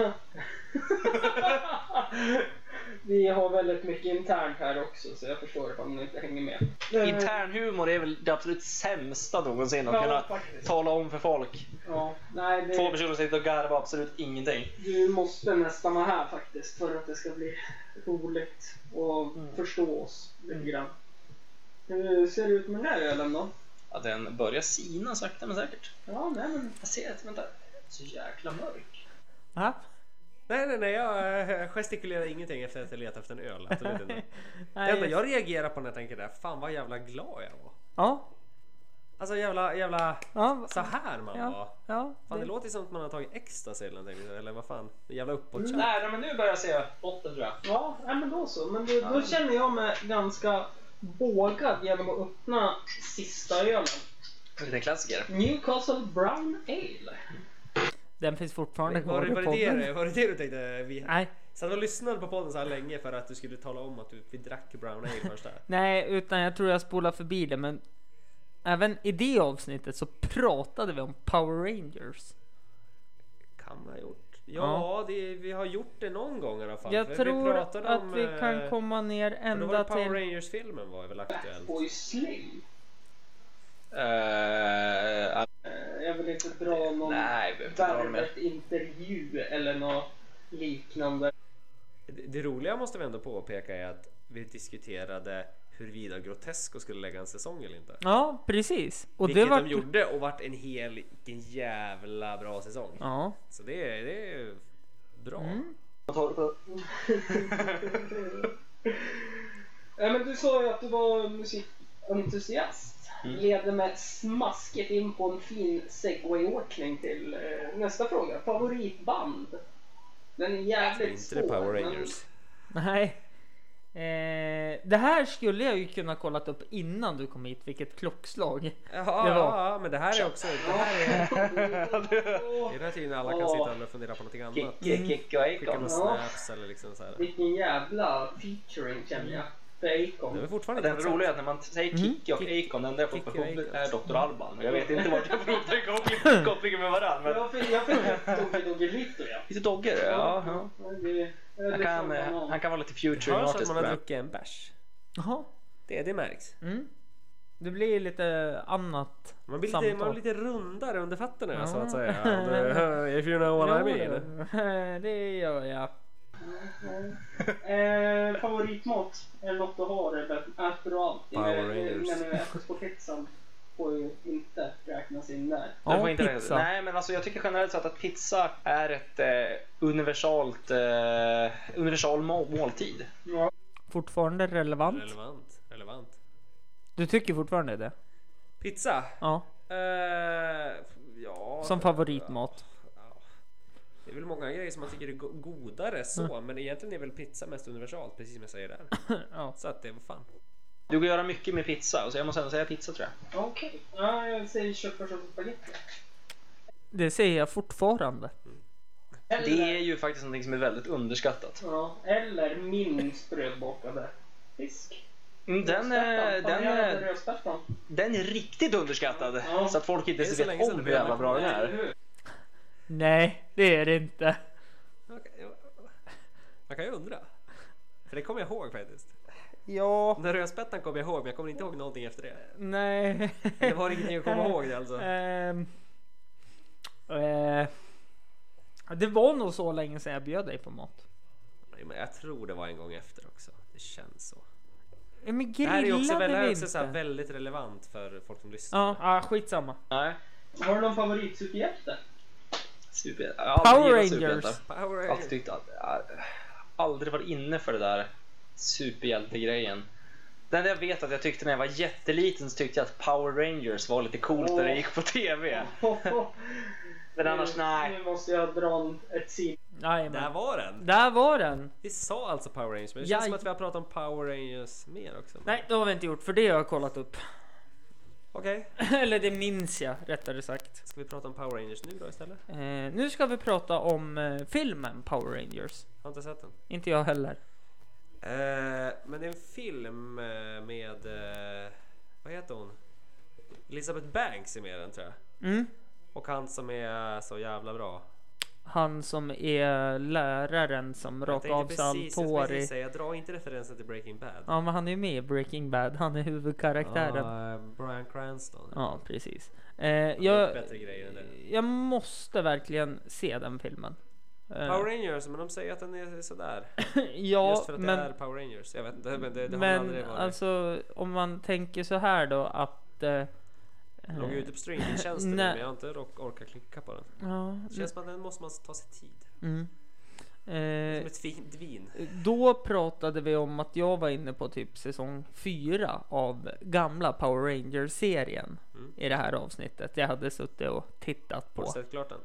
Speaker 4: Vi har väldigt mycket internt här också, så jag förstår om ni inte hänger med. Eh,
Speaker 5: Internhumor är väl det absolut sämsta någonsin
Speaker 4: Ja,
Speaker 5: att kunna
Speaker 4: faktiskt.
Speaker 5: tala om för folk.
Speaker 4: Ja, nej,
Speaker 5: Två
Speaker 4: det,
Speaker 5: personer sitter och garvar absolut ingenting.
Speaker 4: du måste nästan vara här faktiskt för att det ska bli roligt och
Speaker 5: Mm.
Speaker 4: förstå oss lite grann. Hur ser det ut med den här ölen då?
Speaker 5: Ja, den börjar sina sakta men säkert.
Speaker 4: Ja, nej men...
Speaker 5: Jag ser att, vänta, så jäkla mörk.
Speaker 2: Va?
Speaker 3: Nej, nej, nej. Jag eh, gestikulerar ingenting efter att jag letar efter en öl. Absolut inte. Det
Speaker 2: Nej,
Speaker 3: enda jag reagerar på när jag tänker det här, fan vad jävla glad jag var.
Speaker 2: Ja,
Speaker 3: Alltså jävla, jävla
Speaker 2: ja,
Speaker 3: så här man
Speaker 2: Ja.
Speaker 3: var.
Speaker 2: ja.
Speaker 3: Fan det
Speaker 2: det-
Speaker 3: låter ju som att man har tagit ecstasy eller någonting. Eller vad fan. Jävla uppåt.
Speaker 5: Nej, men nu börjar jag se botten tror jag.
Speaker 4: Ja, nej, men då så. Men då, då känner jag mig ganska vågad genom att öppna sista ölen.
Speaker 5: En liten klassiker.
Speaker 4: Newcastle Brown Ale.
Speaker 2: Den finns fortfarande
Speaker 3: Var,
Speaker 2: kvar
Speaker 3: var,
Speaker 2: i
Speaker 3: det det,
Speaker 2: podden.
Speaker 3: du- var det det du tänkte? Vi
Speaker 2: Nej,
Speaker 3: satt och lyssnade på podden så här länge för att du skulle tala om att du, vi drack brown ale först där.
Speaker 2: nej, utan jag tror jag spolar förbi det, men även i det avsnittet så pratade vi om Power Rangers.
Speaker 3: Kan ha gjort. Ja,
Speaker 2: Ja.
Speaker 3: det, vi har gjort det någon gång i alla fall.
Speaker 2: Jag
Speaker 3: För
Speaker 2: tror
Speaker 3: pratade
Speaker 2: att
Speaker 3: om,
Speaker 2: vi
Speaker 3: eh,
Speaker 2: kan komma ner
Speaker 3: för Då var
Speaker 2: ända
Speaker 3: det Power
Speaker 2: till...
Speaker 3: Rangers-filmen var väl aktuell.
Speaker 4: Boy Slim.
Speaker 5: Uh,
Speaker 4: Eh, Jag vill inte dra någon
Speaker 5: nej, vi behöver inte dra det mer.
Speaker 4: Värvet-intervju eller något liknande.
Speaker 3: Det, det roliga måste vi ändå påpeka är att vi diskuterade huruvida Grotesco skulle lägga en säsong eller inte.
Speaker 2: Ja, precis. Och
Speaker 3: Vilket
Speaker 2: det var...
Speaker 3: de gjorde och vart en hel vilken jävla bra säsong.
Speaker 2: Ja. Mm.
Speaker 3: Så det, är- det är bra.
Speaker 4: Ja, men du sa ju att du var musikentusiast.
Speaker 3: Mm.
Speaker 4: Leder med smasket in på en fin segwayåkning till eh, nästa fråga. Favoritband? Den är
Speaker 3: Det är
Speaker 4: jävligt
Speaker 3: inte
Speaker 4: svår.
Speaker 3: det Power
Speaker 4: men-
Speaker 3: Rangers.
Speaker 2: Nej. Eh, det här skulle jag ju kunna kollat upp innan du kom hit, vilket klockslag.
Speaker 3: Ja,
Speaker 2: Det var-
Speaker 3: ja, ja, men det här är också... Det här är,
Speaker 4: Åh,
Speaker 3: i den här tiden alla kan sitta och fundera på någonting annat.
Speaker 5: Kicke, Kicke och
Speaker 3: Skicka några
Speaker 5: Aikon.
Speaker 4: Ja.
Speaker 3: snaps eller liksom så här.
Speaker 4: Vilken jävla featuring känner jag. För
Speaker 3: Det är
Speaker 4: Acon.
Speaker 3: väl fortfarande
Speaker 5: Det
Speaker 3: inte
Speaker 5: roliga är att när man säger Kicke och Aikon, den enda jag fått på
Speaker 3: Kicki Mm-hmm. och
Speaker 5: huvudet
Speaker 3: Aikon.
Speaker 5: är Dr. Alban. Jag vet inte vart jag får ihop den kopplingen- kopplingen med varandra. Men...
Speaker 4: Jag fick jag fick upp Dogge Dogge Rytto ja.
Speaker 5: Lite dogger, ja. ja.
Speaker 4: Men det- liksom det
Speaker 5: Han, kan,
Speaker 4: får man
Speaker 5: eh,
Speaker 4: ha.
Speaker 5: han kan vara lite
Speaker 3: Det
Speaker 5: future
Speaker 3: hörs att
Speaker 5: artist
Speaker 3: man har
Speaker 5: med.
Speaker 3: druckit en bärs.
Speaker 2: Jaha.
Speaker 3: Det, det märks.
Speaker 2: Mm. Det blir lite annat
Speaker 3: Man blir, lite,
Speaker 2: samtal.
Speaker 3: man blir lite rundare under fötterna
Speaker 2: Ja.
Speaker 3: så att säga. Om du- If you know what I mean.
Speaker 2: Jo, Det gör jag.
Speaker 4: Eh, favoritmat? Är det något du har eller äter du allt?
Speaker 3: Power
Speaker 4: Eh,
Speaker 3: Rangers.
Speaker 4: Men äter på pizzan får ju inte räknas in där.
Speaker 5: Den
Speaker 2: Ja,
Speaker 5: får inte räknas.
Speaker 2: pizza.
Speaker 5: Nej, men alltså, jag tycker generellt sett att pizza är ett eh, universalt, eh, universal må- måltid.
Speaker 2: Fortfarande relevant.
Speaker 3: Relevant. Relevant.
Speaker 2: Du tycker fortfarande det?
Speaker 3: Pizza.
Speaker 2: Ja.
Speaker 3: Eh, ja.
Speaker 2: Som favoritmat.
Speaker 3: Det är väl många grejer som man tycker är go- godare så.
Speaker 2: Mm.
Speaker 3: Men egentligen är väl pizza mest universalt. Precis som jag säger där.
Speaker 2: Ja.
Speaker 3: Så att det var fan.
Speaker 5: Du kan göra mycket med pizza, så jag måste ändå säga pizza tror jag.
Speaker 4: Okej. Ja, jag säger köttfärs och spagetti.
Speaker 2: Det säger jag fortfarande.
Speaker 5: Det
Speaker 4: Eller,
Speaker 5: är ju faktiskt någonting som är väldigt underskattat.
Speaker 4: ja, eller minst brödbakade fisk.
Speaker 5: Mm, Den, är, den, är,
Speaker 4: Rödspärskan.
Speaker 5: den är riktigt underskattad.
Speaker 4: Ja.
Speaker 5: Så att folk inte
Speaker 3: Det är så
Speaker 5: ens
Speaker 3: länge
Speaker 5: vet
Speaker 3: sedan
Speaker 5: om
Speaker 3: det
Speaker 5: hur jävla
Speaker 3: började.
Speaker 5: bra den är.
Speaker 2: Nej, det är det inte.
Speaker 3: Okej, ja. Man kan ju undra. För det kommer jag ihåg faktiskt.
Speaker 2: Ja,
Speaker 3: Den rödspättan kommer jag ihåg men jag kommer inte ihåg någonting efter det.
Speaker 2: nej.
Speaker 3: Det var ingenting att komma ihåg det alltså.
Speaker 2: Ehm, eh, det var nog så länge sedan jag bjöd dig på mat.
Speaker 3: Nej, Men jag tror det var en gång efter också. Det känns så.
Speaker 2: Eh, Men
Speaker 3: Det här
Speaker 2: grillade
Speaker 3: är ju
Speaker 2: vi
Speaker 3: också,
Speaker 2: inte?
Speaker 3: väl, här är också så här väldigt relevant för folk som lyssnar.
Speaker 2: Ja, ah, skitsamma.
Speaker 5: Nej.
Speaker 4: Har du någon favoritsuperhjälte?
Speaker 5: Super, ja,
Speaker 2: Power
Speaker 5: jag gillar
Speaker 2: Rangers.
Speaker 5: superhjältar. Alltså,
Speaker 3: Power
Speaker 5: Jag har alltid
Speaker 3: Rangers.
Speaker 5: tyckt att jag aldrig varit inne för det där superhjältegrejen. Det enda jag vet att jag tyckte när jag var jätteliten så tyckte jag att Power Rangers var lite coolt när det gick på TV. Men annars nej.
Speaker 4: Eh, Nu måste jag dra en, ett sim.
Speaker 3: Där
Speaker 2: Jajamän.
Speaker 3: var den!
Speaker 2: Där var den.
Speaker 3: Vi sa alltså Power Rangers men det känns
Speaker 2: Jaj.
Speaker 3: som att vi har pratat om Power Rangers mer också.
Speaker 2: Nej, det har vi inte gjort för det har jag kollat upp.
Speaker 3: Okej,
Speaker 2: Eller det minns jag rättare sagt.
Speaker 3: ska vi prata om Power Rangers nu då istället?
Speaker 2: Eh, nu ska vi prata om eh, filmen Power Rangers.
Speaker 3: Har inte sett den.
Speaker 2: Inte jag heller.
Speaker 3: Eh, men det är en film eh, med, eh, vad heter hon? Elizabeth Banks är med i den tror jag.
Speaker 2: Mm.
Speaker 3: Och han som är så jävla bra.
Speaker 2: Han som är läraren som
Speaker 3: Jag
Speaker 2: rakar
Speaker 3: tänkte
Speaker 2: av sig allt
Speaker 3: precis- jag
Speaker 2: hår
Speaker 3: precis
Speaker 2: i...
Speaker 3: säga, dra inte referensen till Breaking Bad.
Speaker 2: Ja men han är ju med i Breaking Bad, han är huvudkaraktären.
Speaker 3: Ah, Bryan Cranston.
Speaker 2: Ja precis. Eh,
Speaker 3: gjort
Speaker 2: jag,
Speaker 3: bättre grejer än det.
Speaker 2: jag måste verkligen se den filmen. Eh,
Speaker 3: Power Rangers, men de säger att den är sådär.
Speaker 2: ja
Speaker 3: Just för att det är
Speaker 2: men,
Speaker 3: Power Rangers. Jag vet inte, men det, det har väl
Speaker 2: men
Speaker 3: aldrig varit.
Speaker 2: alltså om man tänker så här då att... Eh,
Speaker 3: Den låg
Speaker 2: eh,
Speaker 3: ju ute på streamingtjänsten nu,
Speaker 2: Nej.
Speaker 3: men jag har inte rock- orkat klicka på den.
Speaker 2: eh, ja,
Speaker 3: Det känns som att den måste man ta sig tid.
Speaker 2: mm. Eh,
Speaker 3: Som ett fint vin.
Speaker 2: Då pratade vi om att jag var inne på typ säsong 4 av gamla Power Rangers-serien
Speaker 3: Mm.
Speaker 2: i det här avsnittet. Jag hade suttit och tittat
Speaker 3: Har du
Speaker 2: på.
Speaker 3: sett klart den?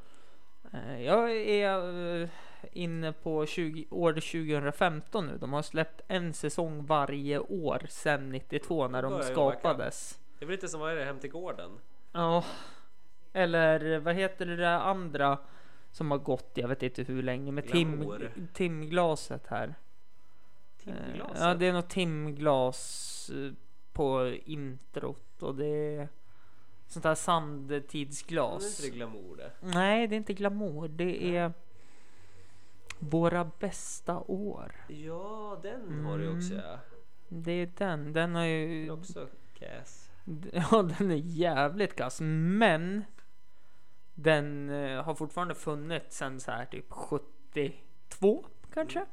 Speaker 2: Eh, Jag är eh, inne på 20, år 2015 nu. De har släppt en säsong varje år sedan 92 när
Speaker 3: Då
Speaker 2: de
Speaker 3: börjar jag jobba ikapp.
Speaker 2: skapades.
Speaker 3: Det är väl lite som vad är det, Hem till gården?
Speaker 2: Eh, Ja, eller vad heter det där andra som har gått, jag vet inte hur länge, med tim,
Speaker 3: Glamour.
Speaker 2: timglaset här. Eh,
Speaker 3: Timglaset?
Speaker 2: Ja, det är något timglas eh, på introt och det är sånt här
Speaker 3: Men är
Speaker 2: sandtidsglas.
Speaker 3: inte det glamour det?
Speaker 2: Nej, det är inte glamour. Det är våra bästa år.
Speaker 3: Ja, den
Speaker 2: Mm.
Speaker 3: har du ju också ja.
Speaker 2: Det är den. Den har
Speaker 3: Den är
Speaker 2: ju...
Speaker 3: också kass.
Speaker 2: Ja, den är jävligt kass. Men den eh, har fortfarande funnits sen så här typ 72 kanske?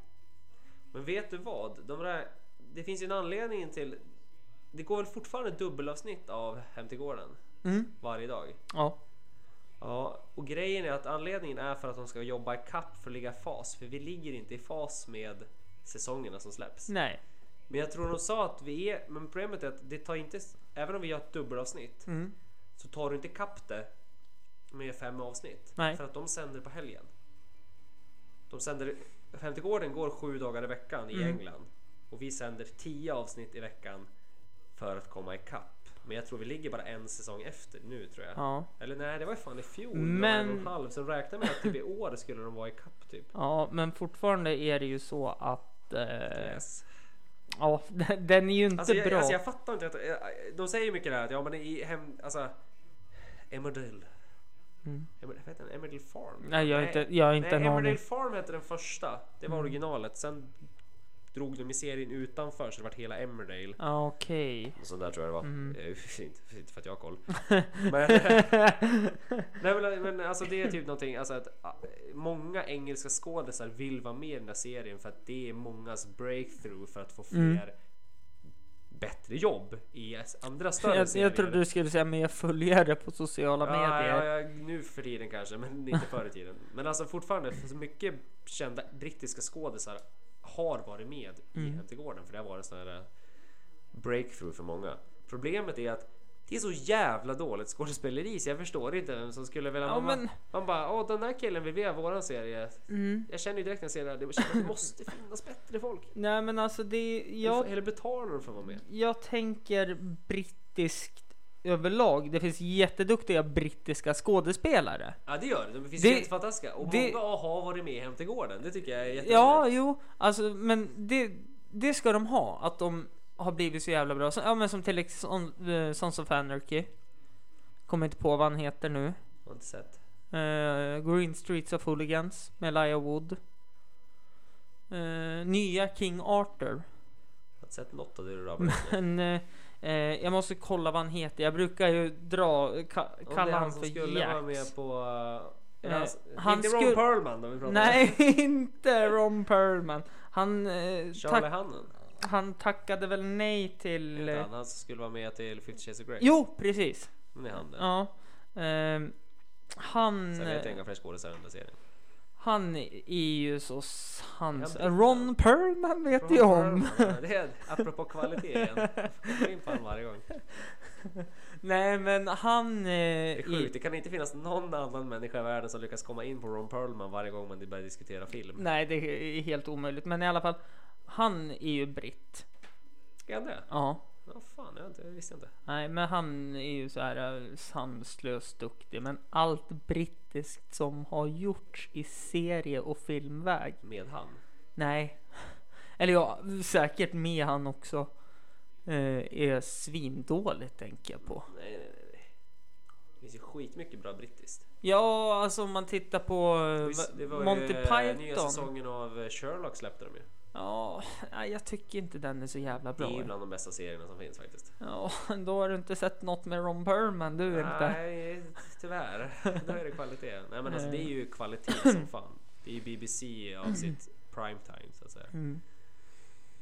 Speaker 3: Men vet du vad? De där, det finns ju en anledning till... Det går väl fortfarande dubbelavsnitt av Hem till gården
Speaker 2: Mm.
Speaker 3: varje dag?
Speaker 2: Ja.
Speaker 3: Ja, och grejen är att anledningen är för att de ska jobba i kapp för att ligga i fas, för vi ligger inte i fas med säsongerna som släpps.
Speaker 2: Nej.
Speaker 3: Men jag tror de sa att vi är, men problemet är att det tar inte, även om vi gör ett dubbelavsnitt,
Speaker 2: Mm.
Speaker 3: så tar du inte kapp det med fem avsnitt.
Speaker 2: Nej.
Speaker 3: För att de sänder på helgen. De sänder, 50 gården går sju dagar i veckan i
Speaker 2: Mm.
Speaker 3: England. Och vi sänder tio avsnitt i veckan för att komma i kapp. Men jag tror vi ligger bara en säsong efter nu tror jag.
Speaker 2: Ja.
Speaker 3: Eller nej, det var ju fan i fjol.
Speaker 2: Men-
Speaker 3: Men... En och en halv. Så de räknar med att typ i år skulle de vara i kapp typ.
Speaker 2: Ja, men fortfarande är det ju så att... Eh,
Speaker 3: Yes.
Speaker 2: ja, den är ju inte
Speaker 3: Alltså, jag,
Speaker 2: bra.
Speaker 3: alltså jag fattar inte. Att, eh, de säger ju mycket där att ja men i hem, alltså Emmerdale.
Speaker 2: Mm.
Speaker 3: Emer- Vad heter den? Emmerdale Farm?
Speaker 2: Nej, jag har inte, jag har inte
Speaker 3: Nej,
Speaker 2: en aning. Mm.
Speaker 3: Emmerdale Farm hette den första. Det var originalet. Sen drog de i serien utanför så det vart hela Emmerdale.
Speaker 2: Ja, Okej.
Speaker 3: Och sånt där tror jag det var.
Speaker 2: Mm.
Speaker 3: Eh, inte, inte för att jag har koll. men, nej, men, men alltså det är typ någonting. Alltså att ah, många engelska skådisar vill vara med i den där serien för att det är mångas breakthrough för att få
Speaker 2: Mm.
Speaker 3: fler bättre jobb i andra större
Speaker 2: Jag,
Speaker 3: serier.
Speaker 2: jag trodde du skulle säga mer följare på sociala
Speaker 3: Ja,
Speaker 2: medier.
Speaker 3: ja, ja, nu för tiden kanske, men inte förr i tiden. Men alltså fortfarande, för så mycket kända brittiska skådisar har varit med
Speaker 2: Mm.
Speaker 3: i Hem till gården för det har varit en sån här eh, breakthrough för många. Problemet är att det är så jävla dåligt skådespeleri så jag förstår inte vem som skulle vilja...
Speaker 2: Ja,
Speaker 3: man,
Speaker 2: men-
Speaker 3: man bara, åh den där killen vill vi ha våran serie. Jag känner ju direkt när jag ser det här, det känns att det måste finnas bättre folk.
Speaker 2: Nej men alltså det,
Speaker 3: Jag...
Speaker 2: jag,
Speaker 3: Eller betalar de för att vara med?
Speaker 2: jag tänker brittiskt överlag. Det finns jätteduktiga brittiska skådespelare.
Speaker 3: Ja det gör det, de finns
Speaker 2: Det-
Speaker 3: helt fantastiska. Och
Speaker 2: det-
Speaker 3: många har varit med i Hem till gården, det tycker jag är jätteroligt.
Speaker 2: Ja, jo, alltså men det, det ska de ha. Att de har blivit så jävla bra. Så, ja, men som till exempel Sons of Anarchy. Kommer inte på vad han heter nu.
Speaker 3: Har inte sett.
Speaker 2: Eh, Green Streets of Hooligans med Elijah Wood. Eh, nya King Arthur.
Speaker 3: Har inte sett något av det du rabblade upp nu.
Speaker 2: Men eh, eh, jag måste kolla vad han heter. Jag brukar ju dra, ka-
Speaker 3: Om det
Speaker 2: kalla
Speaker 3: är
Speaker 2: han
Speaker 3: han som
Speaker 2: för
Speaker 3: skulle vara
Speaker 2: Jax.
Speaker 3: med på... eh, Är det
Speaker 2: Eh,
Speaker 3: han, s-
Speaker 2: han
Speaker 3: inte Ron
Speaker 2: skulle-
Speaker 3: Perlman då vi pratar
Speaker 2: Nej, inte Ron Perlman. Han, eh,
Speaker 3: om?
Speaker 2: tack,
Speaker 3: Charlie Hannon?
Speaker 2: han tackade väl nej till...
Speaker 3: Heter
Speaker 2: Eh,
Speaker 3: han, han som skulle vara med till Fifty Shades of Grey?
Speaker 2: jo, precis.
Speaker 3: Han är han där.
Speaker 2: Ja. eh, Ehm, han,
Speaker 3: Sen vet jag inga fler skådisar i den där serien.
Speaker 2: han är ju så sans...
Speaker 3: Jag vet
Speaker 2: Ron Perlman vet
Speaker 3: Ron
Speaker 2: jag om.
Speaker 3: Perlman, Det är apropå kvalitet igen. Jag kommer in på honom varje gång.
Speaker 2: Nej men han... Eh,
Speaker 3: Det är
Speaker 2: i-
Speaker 3: sjukt, det kan inte finnas någon annan människa i världen som lyckas komma in på Ron Perlman varje gång man börjar diskutera film.
Speaker 2: nej det är helt omöjligt men i alla fall. Han är ju britt.
Speaker 3: Är han det?
Speaker 2: Ja.
Speaker 3: Ja, fan, jag, har inte, jag visste inte.
Speaker 2: Nej men han är ju så här eh, sanslöst duktig men allt brittiskt som har gjorts i serie och filmväg.
Speaker 3: Med han.
Speaker 2: Nej. Eller ja, säkert med han också. Eh, är svindåligt tänker jag på.
Speaker 3: Nej, nej, nej, nej. Det finns ju skitmycket bra brittiskt.
Speaker 2: Ja, alltså om man tittar på eh,
Speaker 3: Visst, det var
Speaker 2: Monty
Speaker 3: ju, eh, nya
Speaker 2: Python.
Speaker 3: säsongen av eh, Sherlock släppte de ju.
Speaker 2: Ja, nej, jag tycker inte den är så jävla
Speaker 3: Det
Speaker 2: bra.
Speaker 3: är ju bland de bästa serierna som finns faktiskt.
Speaker 2: Ja, då har du inte sett något med Ron Perlman, du inte.
Speaker 3: Nej, tyvärr. Då är det kvalitet. Nej men alltså det är ju kvalitet
Speaker 2: Mm.
Speaker 3: som fan. Det är ju BBC av sitt primetime så att säga.
Speaker 2: Mm.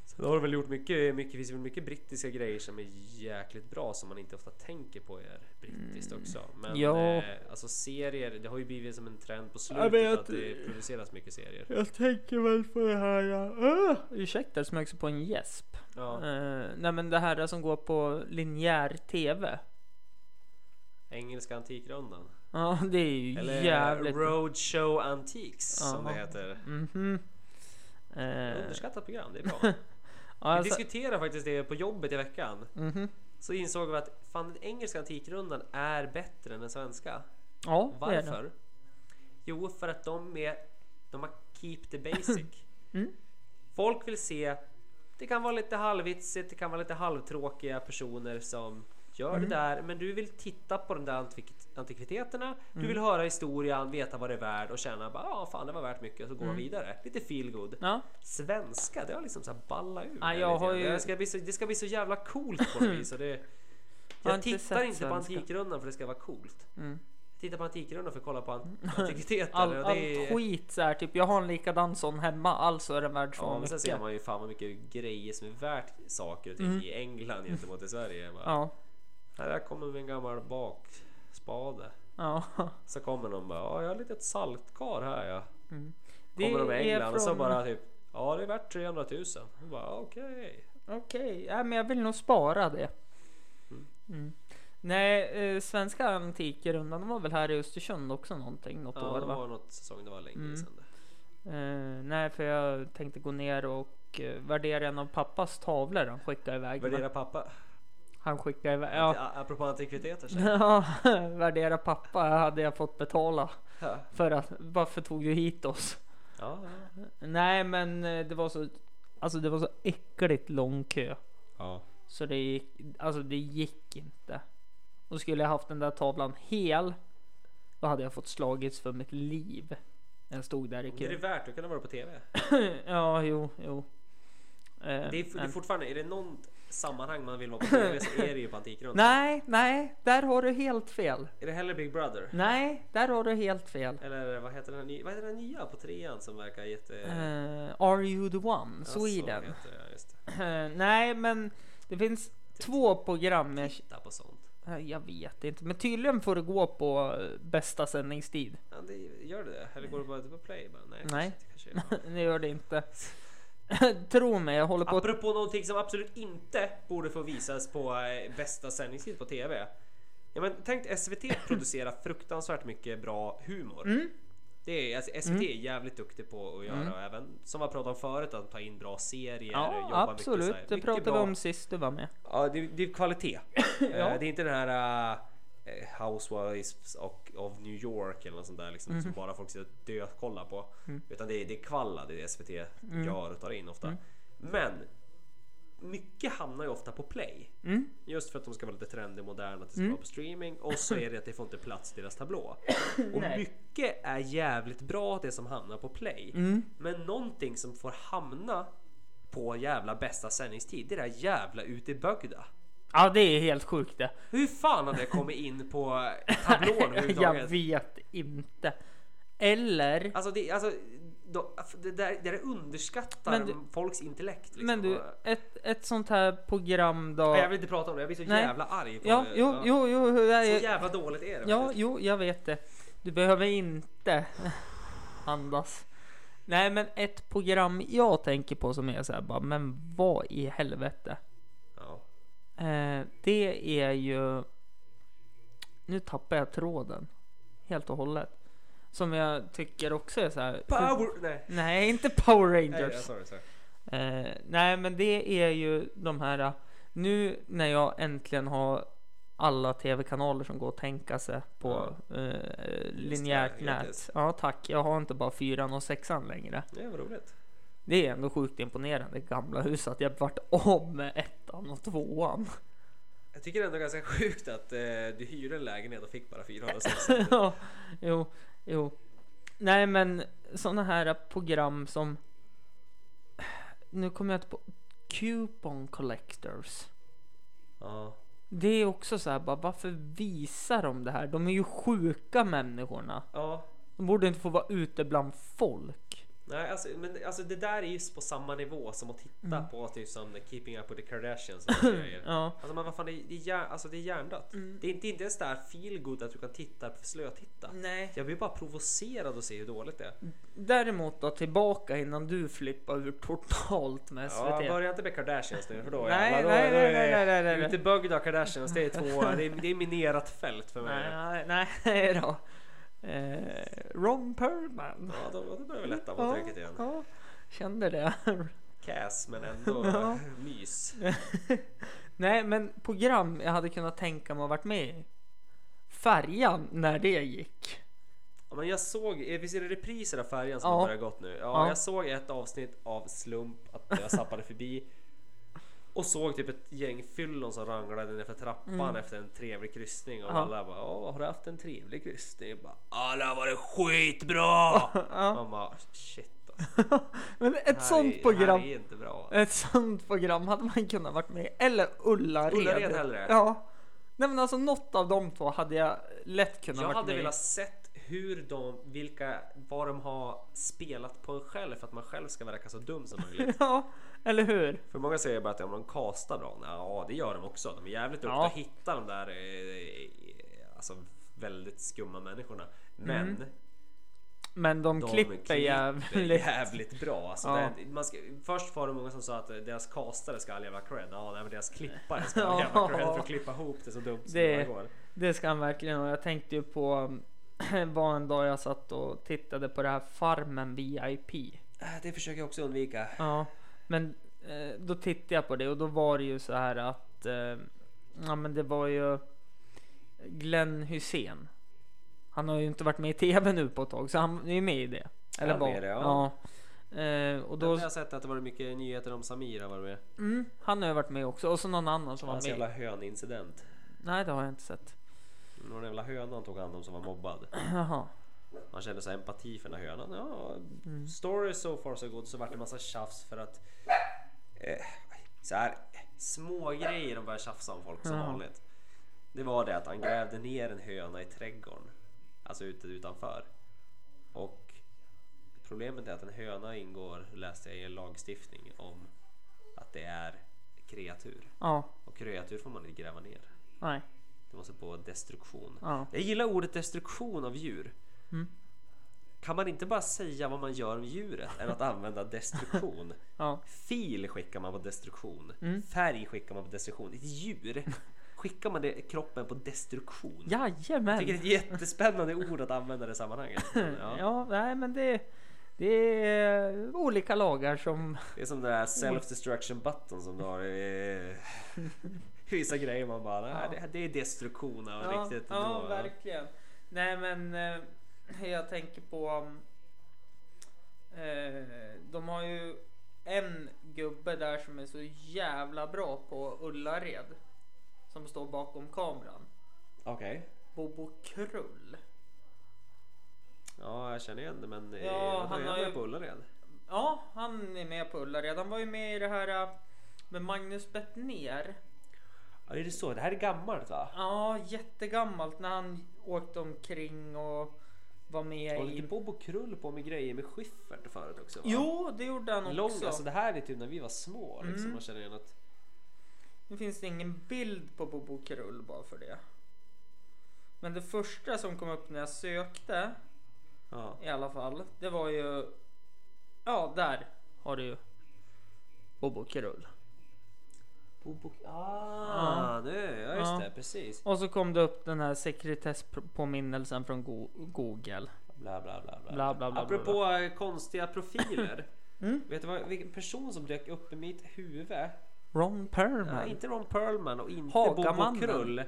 Speaker 3: Sen har de väl gjort mycket, mycket, finns väl mycket brittiska grejer som är jäkligt bra som man inte ofta tänker på är brittiskt också. Men
Speaker 2: Mm. Ja.
Speaker 3: eh, alltså serier, det har ju blivit som en trend på
Speaker 2: men
Speaker 3: slutet
Speaker 2: jag-
Speaker 3: att det produceras mycket serier.
Speaker 2: Jag tänker väl på det här... Uh, ursäkta, det smög sig på en gäsp.
Speaker 3: Ah! Ja,
Speaker 2: Eh, nej men det här som går på linjär TV.
Speaker 3: Engelska Antikrundan.
Speaker 2: Ja, det är ju
Speaker 3: Eller eh,
Speaker 2: jävligt...
Speaker 3: Roadshow Antiques som det
Speaker 2: Ja.
Speaker 3: heter.
Speaker 2: Mhm. Eh,
Speaker 3: Underskattat program, det är bra.
Speaker 2: ja,
Speaker 3: Vi
Speaker 2: alltså,
Speaker 3: diskuterade faktiskt det på jobbet i veckan.
Speaker 2: mhm.
Speaker 3: Så insåg vi att fan, den engelska antikrundan är bättre än den svenska.
Speaker 2: ja, det är det.
Speaker 3: Varför? Jo, för att de är... De har keep the basic.
Speaker 2: Mm.
Speaker 3: Folk vill se... Det kan vara lite halvvitsigt, det kan vara lite halvtråkiga personer som gör
Speaker 2: Mm.
Speaker 3: det där. Men du vill titta på de där antik- antikviteterna. Du
Speaker 2: Mm.
Speaker 3: vill höra historien, veta vad det är värt och känna bara ja, fan det var värt mycket och så går man
Speaker 2: Mm.
Speaker 3: vidare. Lite feel good.
Speaker 2: Ja,
Speaker 3: Svenska, det har liksom så här ballat ur.
Speaker 2: Ja,
Speaker 3: mig
Speaker 2: jag
Speaker 3: lite
Speaker 2: har
Speaker 3: grann.
Speaker 2: ju-
Speaker 3: det, ska bli så, det ska bli så jävla coolt på något vis. och Det, jag
Speaker 2: har inte
Speaker 3: tittar
Speaker 2: sett
Speaker 3: inte på
Speaker 2: svenska.
Speaker 3: Antikrundan för det ska vara coolt.
Speaker 2: Mm.
Speaker 3: Jag tittar på Antikrundan för att kolla på an- antikviteter.
Speaker 2: all,
Speaker 3: och
Speaker 2: allt
Speaker 3: det är-
Speaker 2: skit så här, typ jag har en likadan sån hemma, alltså är den värd så
Speaker 3: Ja, men sen
Speaker 2: mycket. Mm.
Speaker 3: ser man ju fan vad mycket grejer som är värt saker och ting i England gentemot i Sverige. Bara,
Speaker 2: Ja,
Speaker 3: Här där kommer vi en gammal bakspade.
Speaker 2: ja.
Speaker 3: Så kommer någon bara, ja jag har ett litet saltkar här ja.
Speaker 2: Det
Speaker 3: Kommer de med
Speaker 2: är
Speaker 3: England och så
Speaker 2: från-
Speaker 3: bara typ, ja det är värt 300 000. Och bara okej.
Speaker 2: Okej, ja, men jag vill nog spara det. Mm. Nej, eh, svenska antikrundan de var väl här i Östersund också någonting något
Speaker 3: Ja,
Speaker 2: år
Speaker 3: det
Speaker 2: va?
Speaker 3: var något säsong, det var länge
Speaker 2: Mm.
Speaker 3: sedan det.
Speaker 2: Eh, nej, för jag tänkte gå ner och eh, värdera en av pappas tavlor han skickade iväg. men
Speaker 3: Värdera pappa.
Speaker 2: Han skickade iväg. Ja.
Speaker 3: Ja. Apropå antikviteter så.
Speaker 2: Ja, värdera pappa hade jag fått betala
Speaker 3: Ja.
Speaker 2: för att varför tog du hit oss?
Speaker 3: Ja,
Speaker 2: Nej, men eh, det var så alltså det var så äckligt lång kö.
Speaker 3: ja.
Speaker 2: Så det gick, alltså det gick inte. Och skulle jag haft den där tavlan hel, då hade jag fått slagits för mitt liv. När jag stod där i
Speaker 3: Det är det
Speaker 2: kö.
Speaker 3: värt att kunna vara på TV.
Speaker 2: ja, jo, jo. Eh,
Speaker 3: Det är, det är
Speaker 2: men-
Speaker 3: fortfarande, är det någon sammanhang man vill vara på TV så är det ju på Antikrundan.
Speaker 2: Nej, nej, där har du helt fel.
Speaker 3: Är det hellre Big Brother?
Speaker 2: Nej, där har du helt fel.
Speaker 3: Eller vad heter den här, ny- vad heter den här nya på trean som verkar jätte...
Speaker 2: Eh, are you the one?
Speaker 3: Ja,
Speaker 2: Sweden.
Speaker 3: Så heter det, just det.
Speaker 2: Eh, nej, men det finns två program. Jag,
Speaker 3: Titta på sånt.
Speaker 2: eh, jag vet inte, men tydligen får det gå på eh, bästa sändningstid.
Speaker 3: Ja, det, gör det det? Eller går det bara på play? Bara, nej.
Speaker 2: Nej.
Speaker 3: Kanske, kanske, ja.
Speaker 2: Det gör det inte. Tro mig, jag håller på att
Speaker 3: Apropå någonting som absolut inte borde få visas på eh, bästa sändningstid på TV. Ja, men tänk SVT producera fruktansvärt mycket bra humor.
Speaker 2: Mm.
Speaker 3: Det är, alltså, SVT är jävligt duktig på att göra och även som vi pratat om förut att ta in bra serier.
Speaker 2: Ja,
Speaker 3: jobba Mycket,
Speaker 2: absolut.
Speaker 3: så här,
Speaker 2: det
Speaker 3: mycket
Speaker 2: pratade vi
Speaker 3: bra-
Speaker 2: om sist du var med.
Speaker 3: Ja, det, det är kvalitet. Eh, Det är inte den här eh, Housewives och, of New York eller något sånt där liksom,
Speaker 2: Mhm.
Speaker 3: som bara folk sitter och dökollar på.
Speaker 2: Mm.
Speaker 3: Utan det är, det är kvalla det är SVT gör och tar in ofta. Men mycket hamnar ju ofta på play.
Speaker 2: Mm.
Speaker 3: Just för att de ska vara lite trendig, moderna, att det ska
Speaker 2: Mm.
Speaker 3: vara på streaming. Och så är det att det får inte plats i deras tablå. Och
Speaker 2: Nej.
Speaker 3: mycket är jävligt bra det som hamnar på play.
Speaker 2: Mm.
Speaker 3: Men någonting som får hamna på jävla bästa sändningstid, det är det här jävla ute i bögda.
Speaker 2: Ja, det är helt sjukt det.
Speaker 3: Hur fan har det kommit in på tablån
Speaker 2: Jag
Speaker 3: överhuvudtaget?
Speaker 2: vet inte. Eller,
Speaker 3: Alltså, det, alltså då, det, där, det där underskattar
Speaker 2: Men du-
Speaker 3: folks intellekt. Liksom.
Speaker 2: men du, ett, ett sånt här program då.
Speaker 3: Nej, jag vill inte prata om det, jag blir så
Speaker 2: Nej.
Speaker 3: jävla arg på
Speaker 2: Ja,
Speaker 3: det.
Speaker 2: jo, jo, jo. det
Speaker 3: Så
Speaker 2: är-
Speaker 3: jävla dåligt är det.
Speaker 2: Ja,
Speaker 3: faktiskt.
Speaker 2: jo, jag vet det. Du behöver inte andas. Nej, men ett program jag tänker på som är så här bara, men vad i helvete?
Speaker 3: Ja.
Speaker 2: Eh, det är ju... Nu tappar jag tråden helt och hållet. Som jag tycker också är så här...
Speaker 3: Power! Nej.
Speaker 2: Nej, inte Power
Speaker 3: Nej, ja,
Speaker 2: Rangers.
Speaker 3: sorry, sorry.
Speaker 2: Eh, nej, men det är ju de här... eh, Nu när jag äntligen har alla tv-kanaler som går att tänka sig på eh, linjärt
Speaker 3: det,
Speaker 2: nät.
Speaker 3: grattis.
Speaker 2: Ja, tack. Jag har inte bara fyran och sexan längre.
Speaker 3: Det var roligt.
Speaker 2: Det är ändå sjukt imponerande i gamla hus att jag vart av med ettan och tvåan.
Speaker 3: Jag tycker ändå ganska sjukt att eh, du hyrde en lägenhet och fick bara 406.
Speaker 2: ja, jo, jo. Nej, men sådana här program som... Nu kommer jag inte på... Coupon Collectors.
Speaker 3: ja.
Speaker 2: Det är också så här, bara, varför visar de det här? De är ju sjuka människorna.
Speaker 3: ja.
Speaker 2: De borde inte få vara ute bland folk.
Speaker 3: Nej, alltså, men, alltså det där är ju på samma nivå som att titta på typ som Keeping Up With The Kardashians och såna grejer.
Speaker 2: Mm. Ja. Mm.
Speaker 3: Alltså men vad fan, det är, det är, hjär, alltså, det är hjärndött. Det, är inte, det är inte ens det här feel good att du kan titta på slötitta.
Speaker 2: Nej.
Speaker 3: Jag blir bara provocerad att se hur dåligt det är.
Speaker 2: Däremot då tillbaka innan du flippar ur totalt med SVT.
Speaker 3: Ja, börja inte med Kardashians nu för då
Speaker 2: Nej,
Speaker 3: jävlar, då,
Speaker 2: nej,
Speaker 3: då
Speaker 2: nej,
Speaker 3: är-
Speaker 2: nej, nej, nej, nej.
Speaker 3: Utebögd av Kardashians, det är två, det är, det är minerat fält för mig.
Speaker 2: nej, nej, nej då. Eh, Ron Perlman.
Speaker 3: Ja, då, då börjar vi lätta på trycket igen.
Speaker 2: ja, kände det.
Speaker 3: Cass men ändå
Speaker 2: Ja.
Speaker 3: mys.
Speaker 2: nej, men program jag hade kunnat tänka mig att varit med i. Färjan när det gick.
Speaker 3: Ja, men jag såg, eh, visst är det repriser av Färjan som
Speaker 2: Ja.
Speaker 3: har börjat gått nu? Ja,
Speaker 2: Ja.
Speaker 3: jag såg ett avsnitt av Slump, att jag zappade förbi. Och såg typ ett gäng fyllon som ranglade nerför trappan efter en trevlig kryssning och
Speaker 2: Mm. Ja.
Speaker 3: alla bara Åh, har du haft en trevlig kryssning? Jag bara, alla har varit skitbra! Man bara shit alltså,
Speaker 2: Men ett
Speaker 3: det här är-
Speaker 2: sånt program. Eh,
Speaker 3: Det här är inte bra.
Speaker 2: Ett sånt program hade man kunnat varit med i. Eller Ullared.
Speaker 3: Ullared hellre.
Speaker 2: Ja. Nej men alltså något av de två hade jag lätt kunnat
Speaker 3: Jag
Speaker 2: varit
Speaker 3: hade
Speaker 2: med
Speaker 3: velat sett hur de, vilka, vad de har spelat på en själv för att man själv ska verka så dum som möjligt.
Speaker 2: i. Ja, eller hur?
Speaker 3: För många säger bara att om de kastar bra, ja det gör de också. De är jävligt duktiga
Speaker 2: Ja.
Speaker 3: att hitta de där eh, alltså, väldigt skumma människorna. Men
Speaker 2: Men Mm. de,
Speaker 3: de
Speaker 2: klipper, jävligt.
Speaker 3: jävligt bra. Alltså,
Speaker 2: Ja.
Speaker 3: det, man ska, först var det många som sa att eh, deras kastare ska ha all jävla cred. Ja, nej, men deras klippare ska ha all
Speaker 2: Ja.
Speaker 3: jävla cred för att klippa ihop det så dumt som
Speaker 2: Det-
Speaker 3: det går.
Speaker 2: Det ska han verkligen och jag tänkte ju på var en dag jag satt och tittade på det här Farmen VIP.
Speaker 3: Äh, Det försöker jag också undvika.
Speaker 2: Ja, men eh, då tittade jag på det och då var det ju så här att eh, ja, men det var ju Glenn Hussein. Han har ju inte varit med i tv nu på ett tag så han är ju med i det. Eller
Speaker 3: Han är
Speaker 2: var.
Speaker 3: med i det, ja.
Speaker 2: Ja. Eh, och
Speaker 3: Då...
Speaker 2: då,
Speaker 3: Jag har sett att det var mycket nyheter om Samira var med.
Speaker 2: mm, han har ju varit med också och så någon annan som var
Speaker 3: Hans
Speaker 2: med.
Speaker 3: jävla hönincident.
Speaker 2: Nej, det har jag inte sett.
Speaker 3: Någon jävla hönan tog hand om som var mobbad.
Speaker 2: Jaha.
Speaker 3: Man kände så här empati för den här hönan. Ja, Story so far so good så vart det massa tjafs för att eh, så här små grejer de började tjafsa om folk som
Speaker 2: Ja.
Speaker 3: vanligt. Det var det att han grävde ner en höna i trädgården. Alltså ute utanför. Och problemet är att en höna ingår, läste jag i en lagstiftning om att det är kreatur.
Speaker 2: Ja,
Speaker 3: Och kreatur får man inte gräva ner.
Speaker 2: nej.
Speaker 3: Det måste på destruktion.
Speaker 2: Ja. Mm.
Speaker 3: Jag gillar ordet destruktion av djur. Kan man inte bara säga vad man gör med djuret än att använda destruktion?
Speaker 2: Ja.
Speaker 3: Fil skickar man på destruktion.
Speaker 2: Mm.
Speaker 3: Färg skickar man på destruktion. Ett djur skickar man det, kroppen på destruktion. Jag tycker
Speaker 2: Jajamän.
Speaker 3: det är ett jättespännande ord att använda i det sammanhanget. Ja.
Speaker 2: Ja, nej men det, det är olika lagar som...
Speaker 3: Det är som den där self-destruction button som du har i i vissa grejer man bara, nej, det, det är destruktion av riktigt.
Speaker 2: ja
Speaker 3: då."
Speaker 2: verkligen. Nej men eh, jag tänker på... um, Eh, de har ju en gubbe där som är så jävla bra på Ullared. Som står bakom kameran.
Speaker 3: Okej.
Speaker 2: Bobo Krull.
Speaker 3: Ja, jag känner igen det men eh,
Speaker 2: Ja,
Speaker 3: ja, han
Speaker 2: han har
Speaker 3: är ju
Speaker 2: ju-
Speaker 3: på Ullared.
Speaker 2: Ja, han är med på Ullared. Han var ju med i det här äh, med Magnus Bettner.
Speaker 3: Ja, är det så? Det här är gammalt va?
Speaker 2: Ja, jättegammalt när han åkte omkring och var med
Speaker 3: Och
Speaker 2: i...
Speaker 3: lite Bobo Krull på med grejer med Schyffert förut också va?
Speaker 2: Jo, det gjorde han också.
Speaker 3: Lång, alltså det här är typ när vi var små liksom.
Speaker 2: Mm.
Speaker 3: Man känner igen att
Speaker 2: Nu finns det ingen bild på Bobo Krull bara för det. Men det första som kom upp när jag sökte
Speaker 3: ja.
Speaker 2: i alla fall, det var ju... Ja, där har du ju Bobo Krull.
Speaker 3: Bobo... Ah,
Speaker 2: Ja.
Speaker 3: nu, ja just
Speaker 2: Ja.
Speaker 3: det, precis.
Speaker 2: Och så kom det upp den här sekretesspåminnelsen från Go- Google.
Speaker 3: Bla bla bla. bla.
Speaker 2: Bla, bla, bla,
Speaker 3: Apropå
Speaker 2: bla,
Speaker 3: eh, konstiga profiler.
Speaker 2: Mm.
Speaker 3: Vet du vad, vilken person som dök upp i mitt huvud?
Speaker 2: Ron
Speaker 3: Nej,
Speaker 2: Perlman.
Speaker 3: inte Ron Perlman och inte
Speaker 2: Hagamannen.
Speaker 3: Bobo Krull.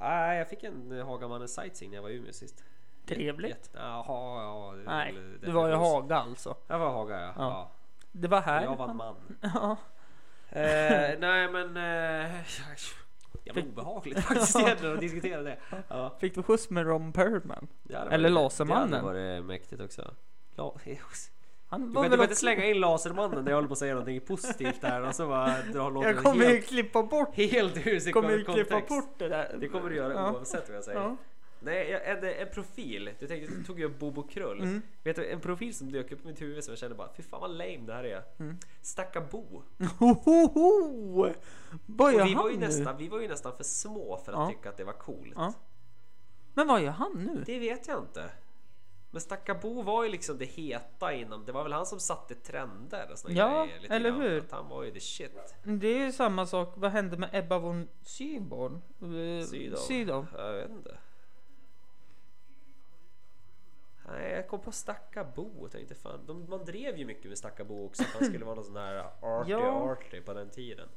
Speaker 3: Nej, jag fick en eh, Hagamannen sightseeing när jag var i Umeå sist.
Speaker 2: Trevligt.
Speaker 3: Jätte- Jaha, ja. det är
Speaker 2: Nej,
Speaker 3: väl
Speaker 2: du var ju
Speaker 3: definitions-
Speaker 2: Haga alltså.
Speaker 3: Jag var Haga ja.
Speaker 2: Ja.
Speaker 3: ja.
Speaker 2: Det var här.
Speaker 3: Jag var en man.
Speaker 2: Ja.
Speaker 3: eh, nej men... Eh, jävla obehagligt faktiskt egentligen att diskutera det. Ja.
Speaker 2: Fick du skjuts med Ron Perlman?
Speaker 3: Det hade
Speaker 2: Eller
Speaker 3: varit-
Speaker 2: Lasermannen.
Speaker 3: Det hade varit mäktigt också. La-
Speaker 2: Han
Speaker 3: Du
Speaker 2: var
Speaker 3: kan, du
Speaker 2: väl
Speaker 3: kan inte
Speaker 2: också-
Speaker 3: slänga in Lasermannen när jag håller på att säga någonting positivt där och så bara dra låten
Speaker 2: Jag kommer ju
Speaker 3: helt,
Speaker 2: klippa bort,
Speaker 3: helt ur sin
Speaker 2: kommer ju
Speaker 3: kontext.
Speaker 2: klippa bort det där.
Speaker 3: Det kommer du göra
Speaker 2: Ja.
Speaker 3: oavsett vad jag säger.
Speaker 2: Ja.
Speaker 3: Nej, jag- en, en profil. Du tänkte, du tog ju upp Bobo Krull.
Speaker 2: Mm.
Speaker 3: Vet du, en profil som dök upp i mitt huvud som jag kände bara, fy fan vad lame det här är.
Speaker 2: Mm.
Speaker 3: Stacka Bo.
Speaker 2: Hohoho! Vad gör
Speaker 3: Och vi, var ju
Speaker 2: han nu?
Speaker 3: nästan, vi var ju nästan för små för att
Speaker 2: Ja.
Speaker 3: tycka att det var coolt.
Speaker 2: Ja. Men vad gör han nu?
Speaker 3: Det vet jag inte. Men Stackabo var ju liksom det heta inom... Det var väl han som satte trender och såna
Speaker 2: Ja,
Speaker 3: grejer. lite
Speaker 2: eller
Speaker 3: grann.
Speaker 2: hur?
Speaker 3: Att han var ju the shit.
Speaker 2: Det är ju samma sak. Vad hände med Ebba von Syborn? Eh,
Speaker 3: Sydow.
Speaker 2: Sydow.
Speaker 3: Jag vet inte. Nej, jag kom på Stackabo och tänkte fan, de, man drev ju mycket med Stackabo också. att Han skulle vara någon sån här arty
Speaker 2: Ja.
Speaker 3: arty på den tiden.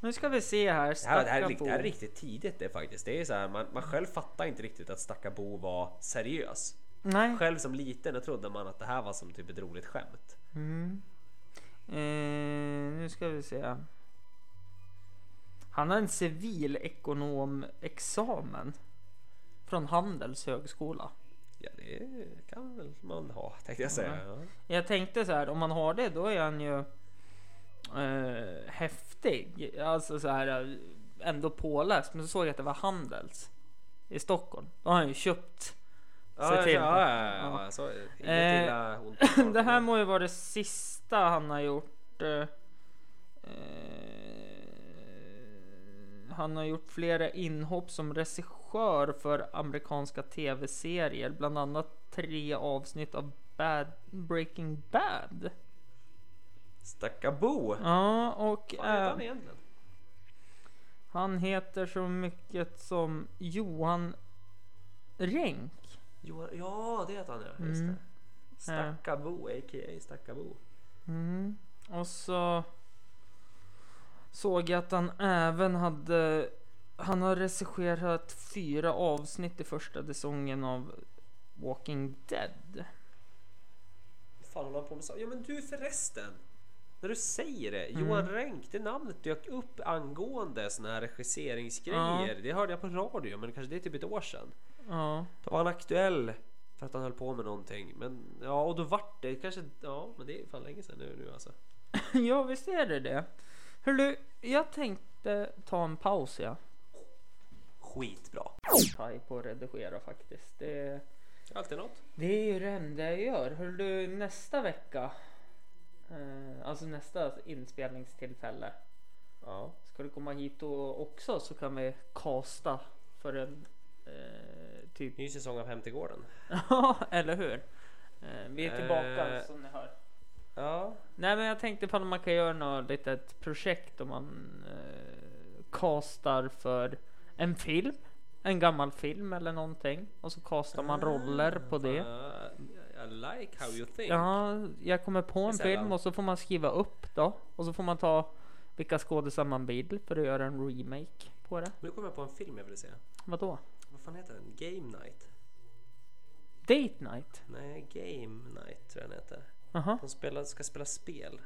Speaker 2: Nu ska vi se här.
Speaker 3: Det här, det, här, är
Speaker 2: Stacka
Speaker 3: rikt-
Speaker 2: på.
Speaker 3: det här är riktigt tidigt det faktiskt. Det är så här, man, man själv fattar inte riktigt att Stackabo var seriös.
Speaker 2: Nej.
Speaker 3: Själv som liten då trodde man att det här var som typ ett roligt skämt.
Speaker 2: Mm. Eh, nu ska vi se. Han har en civilekonomexamen. Från Handels högskola.
Speaker 3: Ja, det kan väl man ha tänkte jag säga. Ja.
Speaker 2: Jag tänkte så här, om man har det då är han ju eh, häftig. Alltså så här, eh, ändå påläst. Men så såg jag att det var Handels i Stockholm. Då har han ju köpt. Se till.
Speaker 3: Ja, ja, ja, ja. Så, inget
Speaker 2: Eh,
Speaker 3: illa ont om saken.
Speaker 2: Det här må ju vara det sista han har gjort. eh, eh, Han har gjort flera inhopp som regissör för amerikanska tv-serier, bland annat tre avsnitt av Bad Breaking Bad.
Speaker 3: Stackabo!
Speaker 2: Ja, och
Speaker 3: Vad heter
Speaker 2: eh,
Speaker 3: han egentligen?
Speaker 2: han heter så mycket som Johan Renck.
Speaker 3: Johan, ja, det heter han ja. Just
Speaker 2: Mm.
Speaker 3: det. Stackabo, a.k.a. Stackabo.
Speaker 2: Mm. Och så såg jag att han även hade... Han har regisserat fyra avsnitt i första säsongen av Walking Dead.
Speaker 3: Vad fan håller han på med så? Ja men du förresten! När du säger det, Johan Renck, det namnet dök upp angående såna här regisseringsgrejer. Det hörde jag på radio, men kanske det är typ ett år sedan.
Speaker 2: Ja.
Speaker 3: Då var han aktuell för att han höll på med någonting. Men ja, och då vart det kanske... Ja, men det är fan länge sedan nu, nu alltså.
Speaker 2: ja, visst är det det. Hörru, jag tänkte ta en paus ja.
Speaker 3: Skitbra.
Speaker 2: Taj på att redigera faktiskt. Det,
Speaker 3: Alltid något.
Speaker 2: det är ju det enda jag gör. Hörru, nästa vecka. Eh, alltså nästa inspelningstillfälle.
Speaker 3: Ja.
Speaker 2: Ska du komma hit då också så kan vi kasta för en eh, typ.
Speaker 3: Ny säsong av Hem till gården.
Speaker 2: Ja, eller hur? Eh, vi är tillbaka
Speaker 3: Eh.
Speaker 2: som ni hör.
Speaker 3: Ja.
Speaker 2: Nej, men jag tänkte på om man kan göra något litet projekt om man eh, castar för en film, en gammal film eller någonting och så castar man roller på det.
Speaker 3: I like how you think.
Speaker 2: Ja, jag kommer på en
Speaker 3: Det är sällan.
Speaker 2: film och så får man skriva upp då och så får man ta vilka skådisar man vill för att göra en remake på det.
Speaker 3: Nu kommer jag på en film jag ville se.
Speaker 2: Vadå?
Speaker 3: Vad fan heter den? Game Night?
Speaker 2: Date night?
Speaker 3: Nej, Game Night tror jag den heter.
Speaker 2: Jaha.
Speaker 3: De spelar, ska spela spel.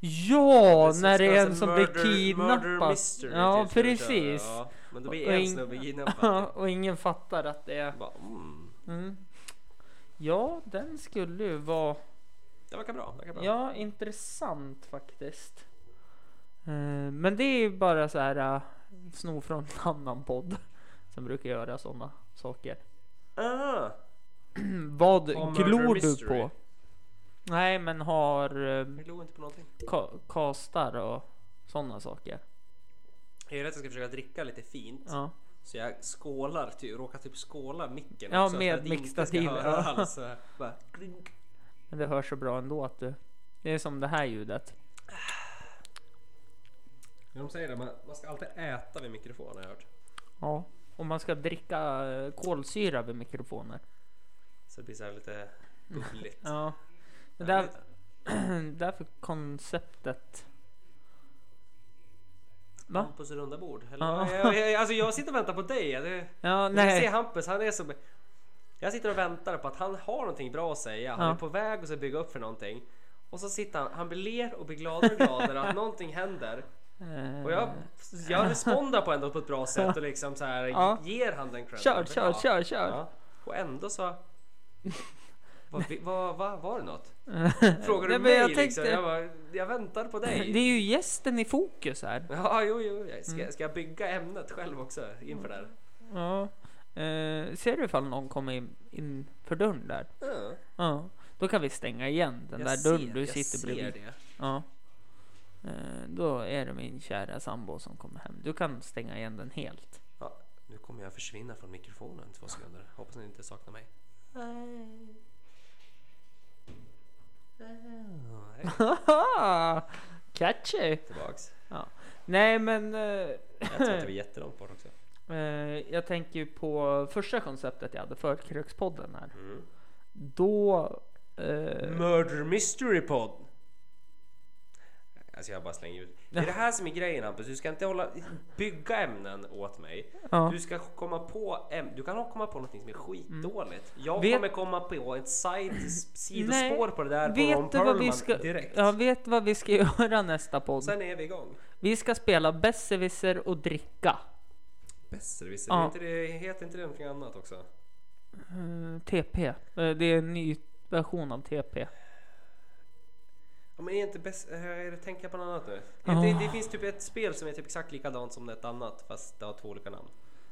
Speaker 2: Ja,
Speaker 3: Precis,
Speaker 2: när det är
Speaker 3: alltså
Speaker 2: en som
Speaker 3: murder-
Speaker 2: blir
Speaker 3: Murder
Speaker 2: kidnappad.
Speaker 3: mystery,
Speaker 2: Ja,
Speaker 3: typ, ska vi köra.
Speaker 2: precis.
Speaker 3: Ja, men då
Speaker 2: Och
Speaker 3: blir en
Speaker 2: in-
Speaker 3: snubbe kidnappad.
Speaker 2: och ingen fattar att det är...
Speaker 3: typ. Bara, mm.
Speaker 2: Mm. Ja, den skulle ju vara...
Speaker 3: Det verkar bra. Det verkar bra.
Speaker 2: Ja, intressant faktiskt. Eh, Men det är ju bara så här eh, sno från en annan podd som brukar göra sådana saker.
Speaker 3: Ah,
Speaker 2: Vad
Speaker 3: Ja, Murder
Speaker 2: glor du
Speaker 3: Mystery.
Speaker 2: på? Nej, men har eh,
Speaker 3: jag glor inte på någonting.
Speaker 2: ka- kastar och sådana saker.
Speaker 3: Jag är rädd att jag ska försöka dricka lite fint.
Speaker 2: Ja.
Speaker 3: Så jag skålar, typ, råkar typ skåla micken
Speaker 2: Ja,
Speaker 3: också,
Speaker 2: med
Speaker 3: så att det inte ska
Speaker 2: mickstativet,
Speaker 3: höra
Speaker 2: ja.
Speaker 3: alls. Så här, bara, klink.
Speaker 2: Men det hörs så bra ändå att du... Det är som det här ljudet.
Speaker 3: Ja, De säger det, man, man ska alltid äta vid mikrofonen har jag hört.
Speaker 2: Ja. Och man ska dricka eh, kolsyra vid mikrofoner.
Speaker 3: Så det blir så här lite bubbligt.
Speaker 2: Ja. Det där, därför konceptet. Va?
Speaker 3: Hampus runda bord. Eller?
Speaker 2: Ja.
Speaker 3: Jag, jag, alltså jag sitter och väntar på dig. Det,
Speaker 2: Ja,
Speaker 3: Nej.
Speaker 2: nej.
Speaker 3: Se Hampus, han är som... Jag sitter och väntar på att han har någonting bra att säga. Han
Speaker 2: Ja.
Speaker 3: är på väg att så bygga upp för någonting. Och så sitter han, han blir ler och blir gladare och gladare att någonting händer.
Speaker 2: Eh,
Speaker 3: Och jag, jag respondar på ändå på ett bra sätt och liksom så här
Speaker 2: Ja.
Speaker 3: ger han den credden.
Speaker 2: Kör, kör,
Speaker 3: Ja.
Speaker 2: kör, kör.
Speaker 3: Ja. Och ändå så... Vad, vad, vad, var det något? Frågar
Speaker 2: Nej,
Speaker 3: du
Speaker 2: men
Speaker 3: mig
Speaker 2: jag
Speaker 3: jag liksom?
Speaker 2: tänkte-
Speaker 3: Jag, bara, jag väntar på dig.
Speaker 2: Det är ju gästen i fokus här.
Speaker 3: Ja, jo, jo. jag- Ska, ska jag bygga ämnet själv också inför det här?
Speaker 2: Ja. Eh, ser du ifall någon kommer in, in för dörren där?
Speaker 3: Ja.
Speaker 2: Ja. Då kan vi stänga igen den
Speaker 3: Jag
Speaker 2: där dörren
Speaker 3: ser-
Speaker 2: du
Speaker 3: jag
Speaker 2: sitter
Speaker 3: ser
Speaker 2: bredvid.
Speaker 3: det.
Speaker 2: Ja. Eh, då är det min kära sambo som kommer hem. Du kan stänga igen den helt.
Speaker 3: Ja, nu kommer jag försvinna från mikrofonen två sekunder. Hoppas ni inte saknar mig. Ja, hej,
Speaker 2: Catchy!
Speaker 3: Tillbaks.
Speaker 2: Nej men eh,
Speaker 3: Jag tror att jag var jättelångt bort också.
Speaker 2: eh, jag tänker ju på första konceptet jag hade för Krökspodden här.
Speaker 3: Mm.
Speaker 2: Då... Eh,
Speaker 3: Murder Mystery Pod. Alltså jag bara slänger ut. Det är det här som är grejen Hampus. Du ska inte hålla, bygga ämnen åt mig.
Speaker 2: Ja.
Speaker 3: Du ska komma på äm- Du kan komma på någonting som är skitdåligt. Jag
Speaker 2: Mm. Vet-
Speaker 3: kommer komma på ett side, sidospår på det där på Ron
Speaker 2: vet du vad vi
Speaker 3: Perlman
Speaker 2: ska,
Speaker 3: direkt.
Speaker 2: ja, vet vad vi ska göra nästa podd?
Speaker 3: Sen är vi igång.
Speaker 2: Vi ska spela besserwisser och dricka.
Speaker 3: Besserwisser,
Speaker 2: Ja.
Speaker 3: ja. heter inte det någonting annat också?
Speaker 2: Eh, TP. Eh, det är en ny version av TP.
Speaker 3: Ja, men är inte bäst, eh, tänker jag på något annat nu?
Speaker 2: Ja.
Speaker 3: Det, det finns typ ett spel som är typ exakt likadant som ett annat fast det har två olika namn.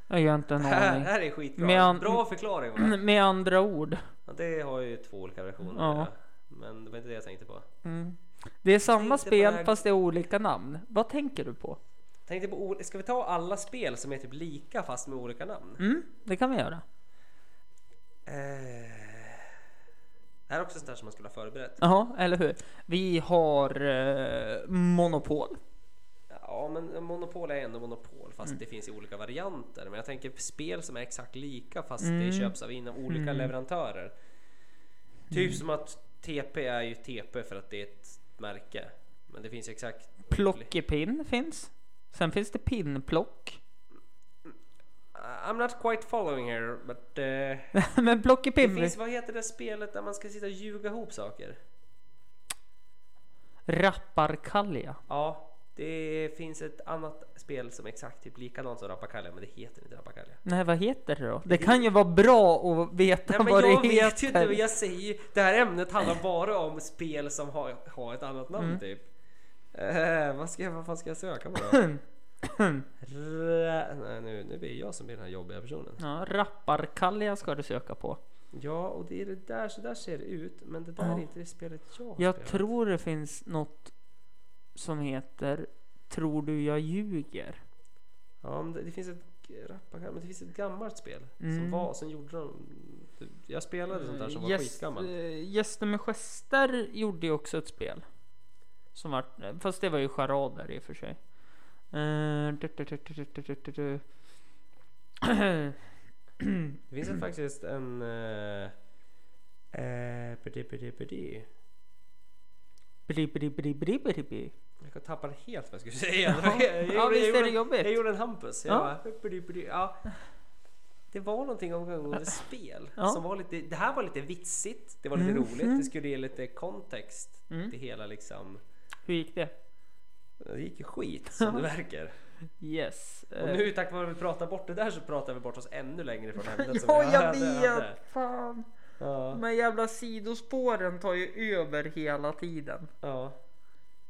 Speaker 2: Jag har inte en
Speaker 3: Det här,
Speaker 2: aning.
Speaker 3: här är skitbra.
Speaker 2: Men jag- Mm.
Speaker 3: Bra förklaring. va?
Speaker 2: Med andra ord.
Speaker 3: Ja, det har ju två olika versioner.
Speaker 2: Ja.
Speaker 3: Ja. Men det var inte det jag tänkte på.
Speaker 2: Mm. Det är samma
Speaker 3: tänkte på det
Speaker 2: spel
Speaker 3: här-
Speaker 2: fast det är olika namn. Vad tänker du på?
Speaker 3: Tänkte på, ol- ska vi ta alla spel som är typ lika fast med olika namn?
Speaker 2: Mm, det kan vi göra.
Speaker 3: Eh, det här är också sånt där som man skulle ha förberett.
Speaker 2: Ja, eller hur? Vi har eh, Monopol.
Speaker 3: Ja, men Monopol är ändå Monopol fast det finns i olika varianter. Men jag tänker på spel som är exakt lika fast det köps av inom olika leverantörer. Typ som att TP är ju TP för att det är ett märke. Men det finns ju exakt...
Speaker 2: Plockepinn finns. Sen finns det pinnplock.
Speaker 3: I'm not quite following here but... eh,
Speaker 2: Men
Speaker 3: det
Speaker 2: plockepinn...
Speaker 3: finns, vad heter det spelet där man ska sitta och ljuga ihop saker?
Speaker 2: Rapparkalja.
Speaker 3: Ja, det finns ett annat spel som är exakt typ likadant som Rappakalja men det heter inte Rappakalja.
Speaker 2: Nej, vad heter det då? Det kan ju vara bra att veta
Speaker 3: Nej, men
Speaker 2: vad
Speaker 3: jag
Speaker 2: det
Speaker 3: vet ju
Speaker 2: heter.
Speaker 3: inte vad jag säger. Det här ämnet handlar bara om spel som har, har ett annat namn
Speaker 2: Mm.
Speaker 3: typ. Eh, vad, ska, jag- vad fan ska jag söka på då? Rä- Nej, nu, nu blir jag som blir den här jobbiga personen.
Speaker 2: Ja, rapparkalja ska du söka på.
Speaker 3: Ja, och det är det där. Så där ser det ut. Men det där
Speaker 2: Ja.
Speaker 3: är inte det spelet jag har
Speaker 2: Jag
Speaker 3: spelat.
Speaker 2: tror det finns något som heter Tror du jag ljuger?
Speaker 3: Ja, men det, det finns ett g- rappa- men det finns ett gammalt spel
Speaker 2: Mm.
Speaker 3: som var som gjorde de. Jag spelade sånt där som var
Speaker 2: Gäst-
Speaker 3: skitgammalt.
Speaker 2: eh, Gäster med gester gjorde ju också ett spel. Som var, fast det var ju charader i och för sig. Eh, du- du- du- du- du- du- du- du.
Speaker 3: Det finns mm. faktiskt en... Eh, eh, bidi, bidi, bidi.
Speaker 2: Bri, bri, bri, bri, bri, bri.
Speaker 3: Jag tappade helt vad jag skulle säga. Det var- jag gjorde-
Speaker 2: Ja,
Speaker 3: jag
Speaker 2: visst är det
Speaker 3: gjorde-
Speaker 2: jobbigt?
Speaker 3: Jag gjorde en Hampus. Jag
Speaker 2: Ja.
Speaker 3: bara, uppidi, uppidi, ja. Det var någonting omgående spel.
Speaker 2: Ja. Mm.
Speaker 3: Som var lite, det här var lite vitsigt. Det var lite roligt. Det skulle ge lite kontext till hela liksom
Speaker 2: Hur gick det?
Speaker 3: Det gick ju skit som det verkar.
Speaker 2: Yes.
Speaker 3: Och
Speaker 2: eh,
Speaker 3: nu tack vare att vi pratar bort det där så pratar vi bort oss ännu längre från ämnet. som
Speaker 2: ja,
Speaker 3: vi
Speaker 2: jag
Speaker 3: hade.
Speaker 2: vet! Fan.
Speaker 3: Ja,
Speaker 2: De här jävla sidospåren tar ju över hela tiden.
Speaker 3: ja.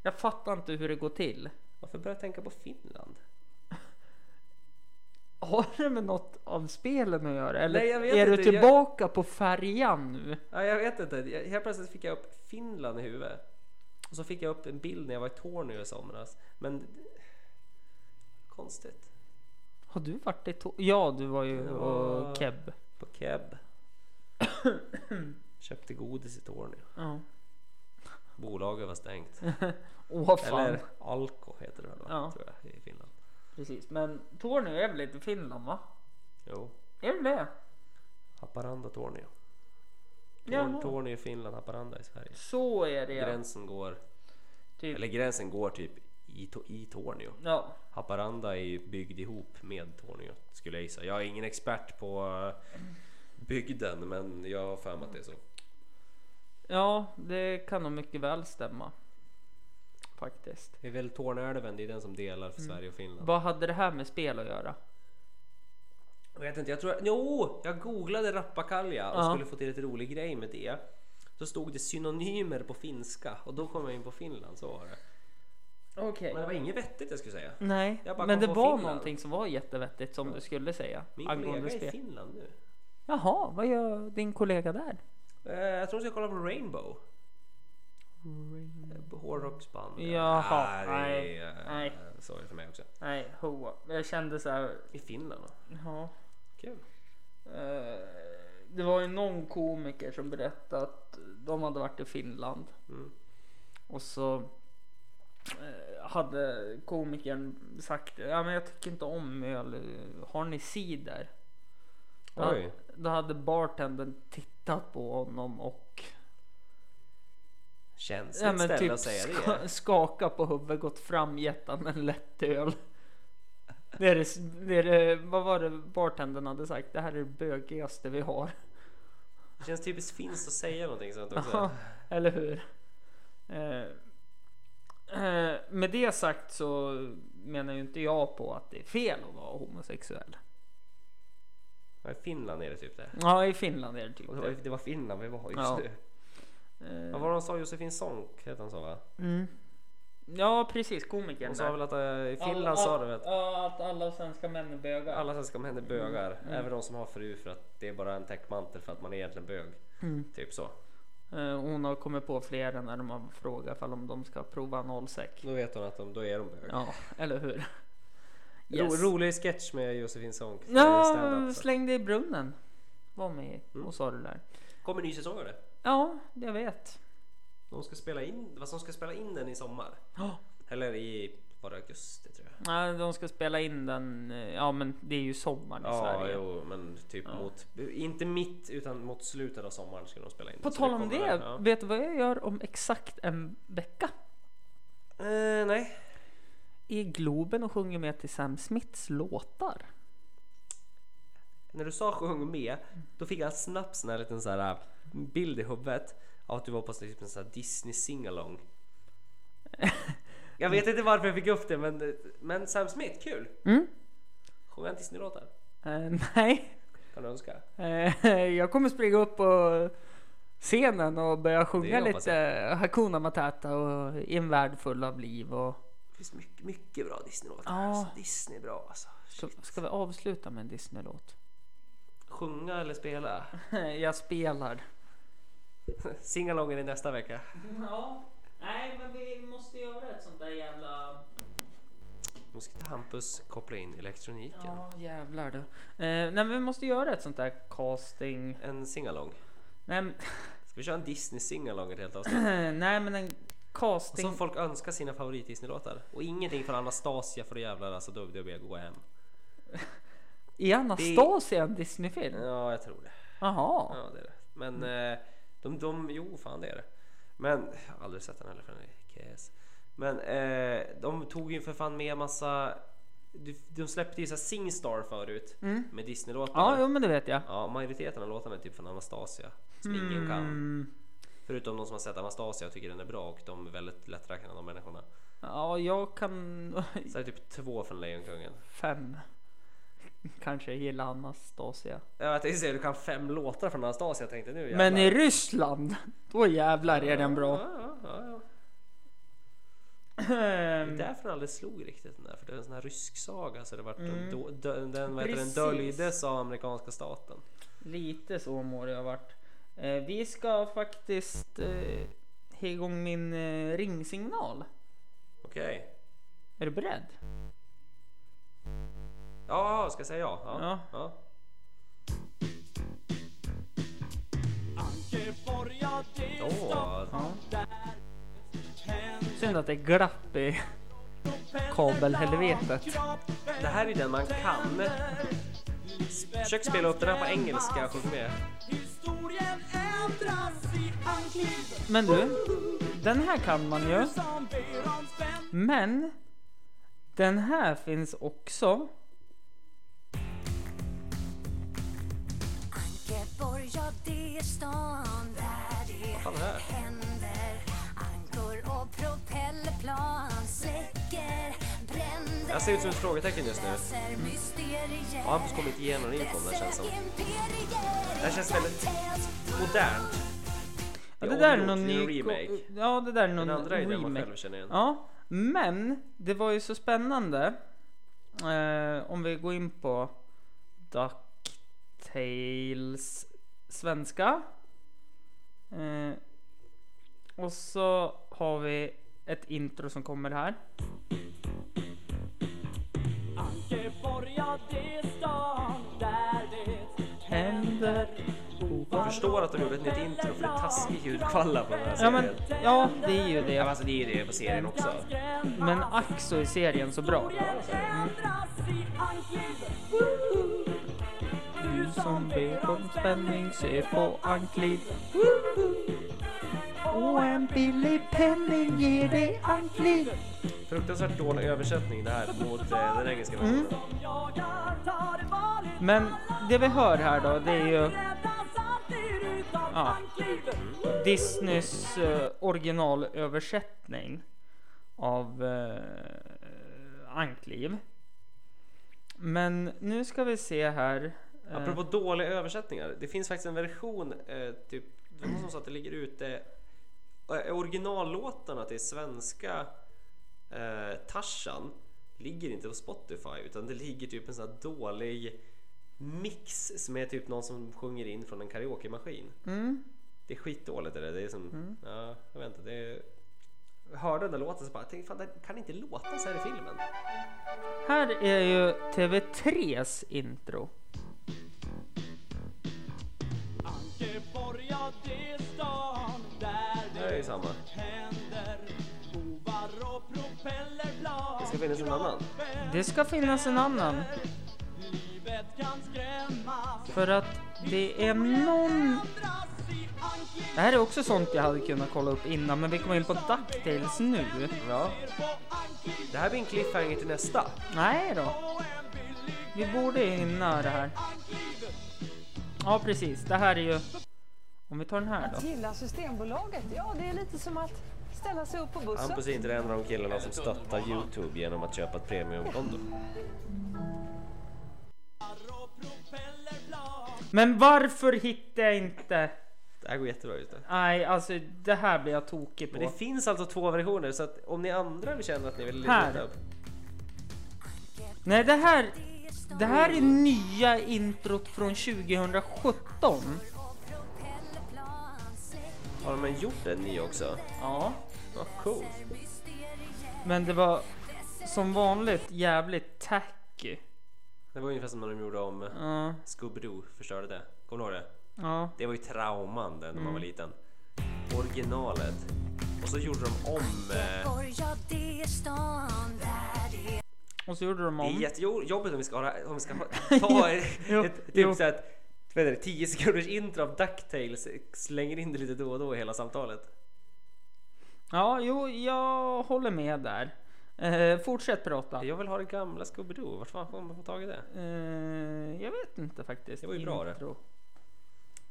Speaker 2: Jag fattar inte hur det går till.
Speaker 3: Varför börjar jag tänka på Finland?
Speaker 2: Har det med något av spelen att göra? Eller
Speaker 3: Nej, jag vet
Speaker 2: är
Speaker 3: inte.
Speaker 2: du
Speaker 3: Jag-
Speaker 2: tillbaka på färjan nu?
Speaker 3: Ja, jag vet inte. Jag- Helt plötsligt fick jag upp Finland i huvudet. Och så fick jag upp en bild när jag var i Tornio i somras. Men... Konstigt.
Speaker 2: Har du varit i to- Ja, du var ju
Speaker 3: Ja.
Speaker 2: och keb.
Speaker 3: På Keb. Köpte godis i Tornio.
Speaker 2: Ja.
Speaker 3: Bolaget var stängt.
Speaker 2: Åh fan.
Speaker 3: Eller Alko heter det väl? va?
Speaker 2: Ja.
Speaker 3: Tror jag, i Finland.
Speaker 2: Precis, men Tornio är väl inte Finland va?
Speaker 3: Jo.
Speaker 2: Är det det?
Speaker 3: Haparanda, Tornio. Tor-
Speaker 2: Jaha.
Speaker 3: Tornio i Finland, Haparanda i Sverige.
Speaker 2: Så är det ja.
Speaker 3: Gränsen går...
Speaker 2: Typ.
Speaker 3: Eller gränsen går typ i, To- i Tornio.
Speaker 2: Ja.
Speaker 3: Haparanda är ju byggd ihop med Tornio skulle jag gissa. Jag är ingen expert på eh, bygden men jag har för mig att det är så.
Speaker 2: ja, det kan nog mycket väl stämma. Faktiskt.
Speaker 3: Det är väl Torneälven, det är den som delar för Sverige och Finland.
Speaker 2: Vad hade det här med spel att göra?
Speaker 3: Jag vet inte, jag tror... Jo! Jag googlade Rappakalja och
Speaker 2: Ja.
Speaker 3: skulle få till ett rolig grej med det. Så stod det synonymer på finska och då kom jag in på Finland, så var det.
Speaker 2: Okej.
Speaker 3: Men det var inget vettigt jag skulle säga.
Speaker 2: Nej,
Speaker 3: Jag bara
Speaker 2: men
Speaker 3: kom
Speaker 2: det
Speaker 3: på
Speaker 2: var
Speaker 3: Finland.
Speaker 2: någonting som var jättevettigt som du skulle säga.
Speaker 3: Min
Speaker 2: angående
Speaker 3: kollega är i
Speaker 2: spel.
Speaker 3: Finland nu.
Speaker 2: Jaha, vad gör din kollega där?
Speaker 3: Eh, Jag tror jag ska kolla på Rainbow. Eh, Hårdrocksband.
Speaker 2: Jaha,
Speaker 3: Nej, det är, eh,
Speaker 2: nej.
Speaker 3: Sorry för mig också.
Speaker 2: Nej, hoa. Jag kände så här.
Speaker 3: I Finland då?
Speaker 2: Ja.
Speaker 3: Kul.
Speaker 2: Eh, Det var ju någon komiker som berättade att de hade varit i Finland.
Speaker 3: Mm.
Speaker 2: Och så eh, hade komikern sagt ja, men jag tycker inte om öl, har ni cider? Då, ha-
Speaker 3: Oj.
Speaker 2: då hade bartendern tittat på honom och
Speaker 3: Känns
Speaker 2: ja,
Speaker 3: ett ställe
Speaker 2: men typ
Speaker 3: att säga
Speaker 2: ska,
Speaker 3: det.
Speaker 2: skaka på huvudet, gått fram, gett han en lättöl. Det är det, s- det är det, vad var det bartendern hade sagt? Det här är det bögigaste vi har.
Speaker 3: Det känns typiskt finskt att säga någonting sånt också.
Speaker 2: Ja, eller hur? Eh, eh, med det sagt så menar ju inte jag på att det är fel att vara homosexuell.
Speaker 3: Ja, I Finland är det typ det.
Speaker 2: Ja, i Finland är det typ
Speaker 3: Och det var,
Speaker 2: det.
Speaker 3: det var Finland vi var just
Speaker 2: Ja.
Speaker 3: nu. Vad
Speaker 2: Eh,
Speaker 3: var det de sa? Josefin Sonck hette han så va?
Speaker 2: mm. Ja, precis. Komikern
Speaker 3: Hon sa väl att eh, i Finland
Speaker 2: Alla-
Speaker 3: sa de att
Speaker 2: Ja, att alla svenska män är bögar.
Speaker 3: alla svenska män är bögar.
Speaker 2: Mm,
Speaker 3: Även de som har fru för att det är bara en täckmantel för att man är egentligen bög.
Speaker 2: Mm.
Speaker 3: Typ så.
Speaker 2: Eh, hon har kommit på flera när de har frågat om de ska prova nollsäck.
Speaker 3: Då vet hon att de, då är de bög.
Speaker 2: Ja, eller hur?
Speaker 3: Ro, rolig sketch med Josefin Sonck.
Speaker 2: Ja,
Speaker 3: Stand-up.
Speaker 2: släng dig i brunnen. Var med och sa det där.
Speaker 3: Kommer ny säsong av det?
Speaker 2: Mm. Ja, jag vet.
Speaker 3: De ska spela in, vad som ska spela in den i sommar.
Speaker 2: Ja.
Speaker 3: Eller i, var det augusti tror jag?
Speaker 2: Nej, de ska spela in den. eh, Ja, men det är ju sommar i
Speaker 3: Ja,
Speaker 2: Sverige.
Speaker 3: jo, men typ mot, inte mitt utan mot slutet av sommaren ska de spela in.
Speaker 2: På
Speaker 3: Så
Speaker 2: tal om det,
Speaker 3: kommer- ja.
Speaker 2: vet du vad jag gör om exakt en vecka?
Speaker 3: Eh, nej.
Speaker 2: I Globen och sjunger med till Sam Smiths låtar.
Speaker 3: När du sa sjung med, då fick jag snabbt sån här liten så här äh, bild i huvudet av att du var på typ en sån här Disney singalong. jag vet inte varför jag fick upp det, men, men Sam Smith, kul!
Speaker 2: Mm.
Speaker 3: Sjöng han Disney-låtar?
Speaker 2: Eh, nej,
Speaker 3: Kan du önska?
Speaker 2: Eh, jag kommer springa upp på scenen och börja sjunga
Speaker 3: hoppas
Speaker 2: lite Hakuna Matata och i en värld full av liv. Och...
Speaker 3: Det finns mycket, mycket bra Disney-låtar.
Speaker 2: Ja.
Speaker 3: Alltså, Disney är bra alltså.
Speaker 2: Ska, ska vi avsluta med en Disney-låt?
Speaker 3: Sjunga eller spela?
Speaker 2: jag spelar.
Speaker 3: Singalongen är nästa vecka.
Speaker 2: Ja, nej men vi måste göra ett sånt där jävla...
Speaker 3: Nu ska Hampus koppla in elektroniken.
Speaker 2: Ja jävlar du. Eh, nej men vi måste göra ett sånt där casting.
Speaker 3: En singalong.
Speaker 2: Nej, men-
Speaker 3: Ska vi köra en Disney singalong ett helt avsnitt?
Speaker 2: nej men en
Speaker 3: Och så
Speaker 2: casting.
Speaker 3: folk önskar sina favorit Disney-låtar. Och ingenting från Anastasia för jävlar alltså då vill jag gå hem.
Speaker 2: Är Anastasia en Disney-film?
Speaker 3: Ja, jag tror det.
Speaker 2: Jaha.
Speaker 3: Ja, det är det. Men
Speaker 2: Mm.
Speaker 3: eh, de, de, jo fan det är det. Men, jag har aldrig sett den heller för den är KS. Men eh, de tog ju för fan med massa, de, de släppte ju såhär Singstar förut
Speaker 2: Mm.
Speaker 3: med Disney-låtar.
Speaker 2: Ja, jo men det vet jag.
Speaker 3: Ja, majoriteten av låtarna är typ från Anastasia. Som ingen kan.
Speaker 2: Mm.
Speaker 3: Förutom någon som har sett Anastasia och tycker den är bra och de är väldigt lätträknade de människorna.
Speaker 2: Ja, jag kan...
Speaker 3: Så är det typ två från Lejonkungen.
Speaker 2: Fem. Kanske gillar Anastasia.
Speaker 3: Jag tänkte säga du kan fem låtar från Anastasia tänkte nu jävlar.
Speaker 2: Men i Ryssland, då jävlar är den bra.
Speaker 3: Ja, ja, ja, ja. Det är
Speaker 2: Ehm,
Speaker 3: därför den aldrig slog riktigt den där. För det är en sån här rysk saga så det vart
Speaker 2: Mm.
Speaker 3: då, dö, den, vad heter den
Speaker 2: Precis.
Speaker 3: döljdes av amerikanska staten.
Speaker 2: Lite så mår jag varit. Eh, vi ska faktiskt eh, ha igång min eh, ringsignal.
Speaker 3: Okej.
Speaker 2: Är du beredd?
Speaker 3: Ja, ska jag säga ja?
Speaker 2: Ja.
Speaker 3: ja. Åh,
Speaker 2: Ja. Synd att det är glapp i kabelhelvetet.
Speaker 3: det här är den man kan. Försök spela upp den här på engelska, sjung med.
Speaker 2: Men du, den här kan man ju. Men den här finns också.
Speaker 6: Ankeborg, ja det är stan där
Speaker 3: Fan,
Speaker 6: det
Speaker 3: det här.
Speaker 6: händer Ankor och propellerplan släcker bränder
Speaker 3: Jag ser ut som ett frågetecken just nu.
Speaker 6: Läser mysterier
Speaker 3: Har Hampus kommit igenom info om det här känns som.
Speaker 6: Dresser imperier
Speaker 3: Det här känns väldigt modernt.
Speaker 2: Ja, det där är
Speaker 3: omgjort
Speaker 2: någon
Speaker 3: till
Speaker 2: ny...
Speaker 3: en remake.
Speaker 2: Ja, det där är någon
Speaker 3: Den andra är den man
Speaker 2: remake.
Speaker 3: själv känner igen.
Speaker 2: Ja, men det var ju så spännande. Eh, om vi går in på DuckTales svenska. Eh, och så har vi ett intro som kommer här. Händer
Speaker 3: Jag förstår att de gjorde ett nytt intro för det är taskig ljudkvalla på den här
Speaker 2: Ja
Speaker 3: serien.
Speaker 2: men, ja det är ju det.
Speaker 3: Ja, men alltså, det är ju det på serien också.
Speaker 2: Men ack så är serien så bra. Du som ber om spänning, se på Ankliv. Och en billig penning ger dig Ankliv.
Speaker 3: Fruktansvärt dålig översättning det här mot eh, den engelska versionen.
Speaker 2: Men det vi hör här då, det är ju... Ja, Disneys eh, originalöversättning av eh, Ankliv. Men nu ska vi se här. eh,
Speaker 3: Apropå dåliga översättningar. Det finns faktiskt en version, eh, typ, det var någon som sa att det ligger ute eh, originallåtarna till svenska eh, Tarzan ligger inte på Spotify utan det ligger typ en sån här dålig mix som är typ någon som sjunger in från en karaokemaskin.
Speaker 2: Mm.
Speaker 3: Det är skitdåligt är det. Det är som, ja, jag vet inte. Det är, jag hörde den där låten så bara, jag tänkte, fan det kan inte låta så här i filmen.
Speaker 2: Här är ju TV3s intro.
Speaker 3: Det är ju samma. Det ska finnas en annan.
Speaker 2: Det ska finnas en annan. För att det är någon... Det här är också sånt jag hade kunnat kolla upp innan, men vi kommer in på DuckTales nu.
Speaker 3: Ja. Det här blir en cliffhanger till nästa.
Speaker 2: Nej då. Vi borde hinna det här. Ja, precis. Det här är ju... Om vi tar den här
Speaker 7: Att
Speaker 2: då.
Speaker 7: gilla Systembolaget, ja det är lite som att ställa sig upp på bussen.
Speaker 3: Hampus är inte en av de killarna som stöttar Youtube genom att köpa ett premiumkonto.
Speaker 2: Men varför hittar jag inte...
Speaker 3: Det här går jättebra just det.
Speaker 2: Nej, alltså det här blir jag tokig på.
Speaker 3: Men det finns alltså två versioner så att om ni andra känner att ni vill
Speaker 2: Här.
Speaker 3: lyssna upp.
Speaker 2: Nej, det här... Det här är nya introt från 2017.
Speaker 3: Har de gjort en ny också?
Speaker 2: Ja.
Speaker 3: Vad cool.
Speaker 2: Men det var som vanligt jävligt tacky.
Speaker 3: Det var ungefär som när de gjorde om eh,
Speaker 2: Ja,
Speaker 3: Scooby-Doo förstörde det. Kommer du ihåg det?
Speaker 2: ja.
Speaker 3: Det var ju trauman den när man var liten. Originalet. Och så gjorde de om... Eh,
Speaker 6: Borg, ja det är stan där det
Speaker 2: Och så gjorde de
Speaker 3: det är
Speaker 2: om.
Speaker 3: jättejobbigt om vi ska, ha, om vi ska ha, ta ett,
Speaker 2: Jo,
Speaker 3: ett
Speaker 2: jo.
Speaker 3: typ så att, vad heter det, 10 sekunders intro av Ducktails eh, slänger in det lite då och då i hela samtalet.
Speaker 2: Ja, jo, jag håller med där. Eh, fortsätt prata.
Speaker 3: Jag vill ha det gamla Scooby-Doo, vart fan får man få tag i det?
Speaker 2: Eh, jag vet inte faktiskt.
Speaker 3: Det var ju bra det.
Speaker 2: Intro.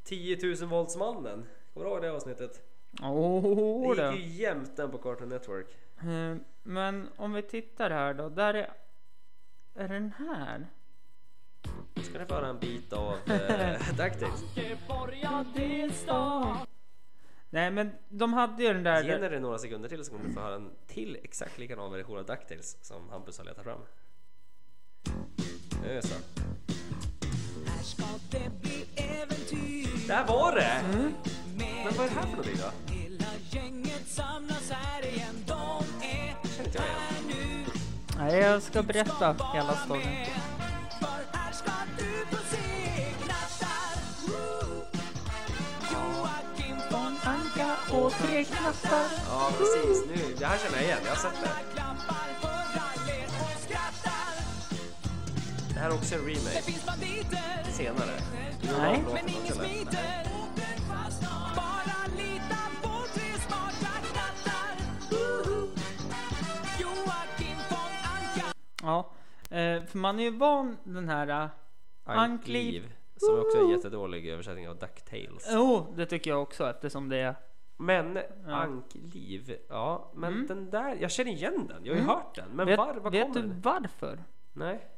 Speaker 3: 10 000 voltsmannen, kommer du ihåg det avsnittet?
Speaker 2: Åh,
Speaker 3: Det
Speaker 2: då.
Speaker 3: gick ju jämt den på Cartoon Network.
Speaker 2: Eh, Men om vi tittar här då. Där är... Är den här?
Speaker 3: Ska ni få höra en bit av eh, DuckTales?
Speaker 2: Nej men de hade ju den där...
Speaker 3: Ge henne det några sekunder till så kommer du få höra en till exakt likadan version av DuckTales som Hampus har letat fram. Nu så. Där var det! Mm. Men vad är det här för någonting då? Känner inte jag igen.
Speaker 2: Nej jag ska berätta hela storyn.
Speaker 3: Ja precis, nu, det här känner jag igen. Jag har sett det. Det här är också en remake. Senare.
Speaker 2: Nej.
Speaker 3: Men ingen smiter.
Speaker 2: Ja. eh, För man är ju van den här... eh, Ankliv.
Speaker 3: Ankliv. Som också är en jättedålig översättning av DuckTales.
Speaker 2: Jo, det tycker jag också eftersom det är...
Speaker 3: Men Ankliv, ja men den där, jag känner igen den, jag har ju hört den.
Speaker 2: Mm.
Speaker 3: Men
Speaker 2: Vet,
Speaker 3: var, var
Speaker 2: vet
Speaker 3: kommer
Speaker 2: du
Speaker 3: den?
Speaker 2: varför?
Speaker 3: Nej.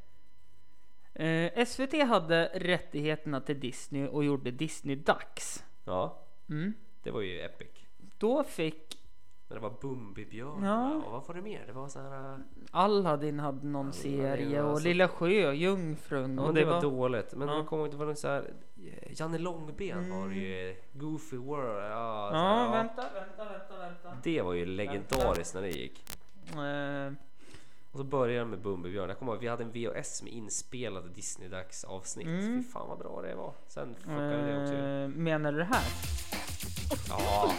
Speaker 2: Eh, SVT hade rättigheterna till Disney och gjorde Disney-dags.
Speaker 3: Ja,
Speaker 2: Mm.
Speaker 3: det var ju epic.
Speaker 2: Då fick
Speaker 3: Men det var Bumbibjörn
Speaker 2: Ja.
Speaker 3: och vad var det mer? Det var så här... äh,
Speaker 2: Aladdin hade någon serie och
Speaker 3: alltså-
Speaker 2: Lilla Sjöjungfrun.
Speaker 3: Ja,
Speaker 2: och
Speaker 3: men det, var dåligt. Men
Speaker 2: Ja. Mm.
Speaker 3: jag kommer inte ihåg, det var så här... eh, Janne Långben var det ju. Goofy World. Ja, så här,
Speaker 2: Ja, vänta, vänta, vänta, vänta.
Speaker 3: Det var ju legendariskt när det gick.
Speaker 2: Eh,
Speaker 3: Och så började den med Bumbibjörn. Jag kommer ihåg, vi hade en VHS med inspelade Disney-dags avsnitt.
Speaker 2: Mm.
Speaker 3: Fy fan vad bra det var. Sen fuckade det också. ur.
Speaker 2: eh, menar du det här?
Speaker 3: Ja.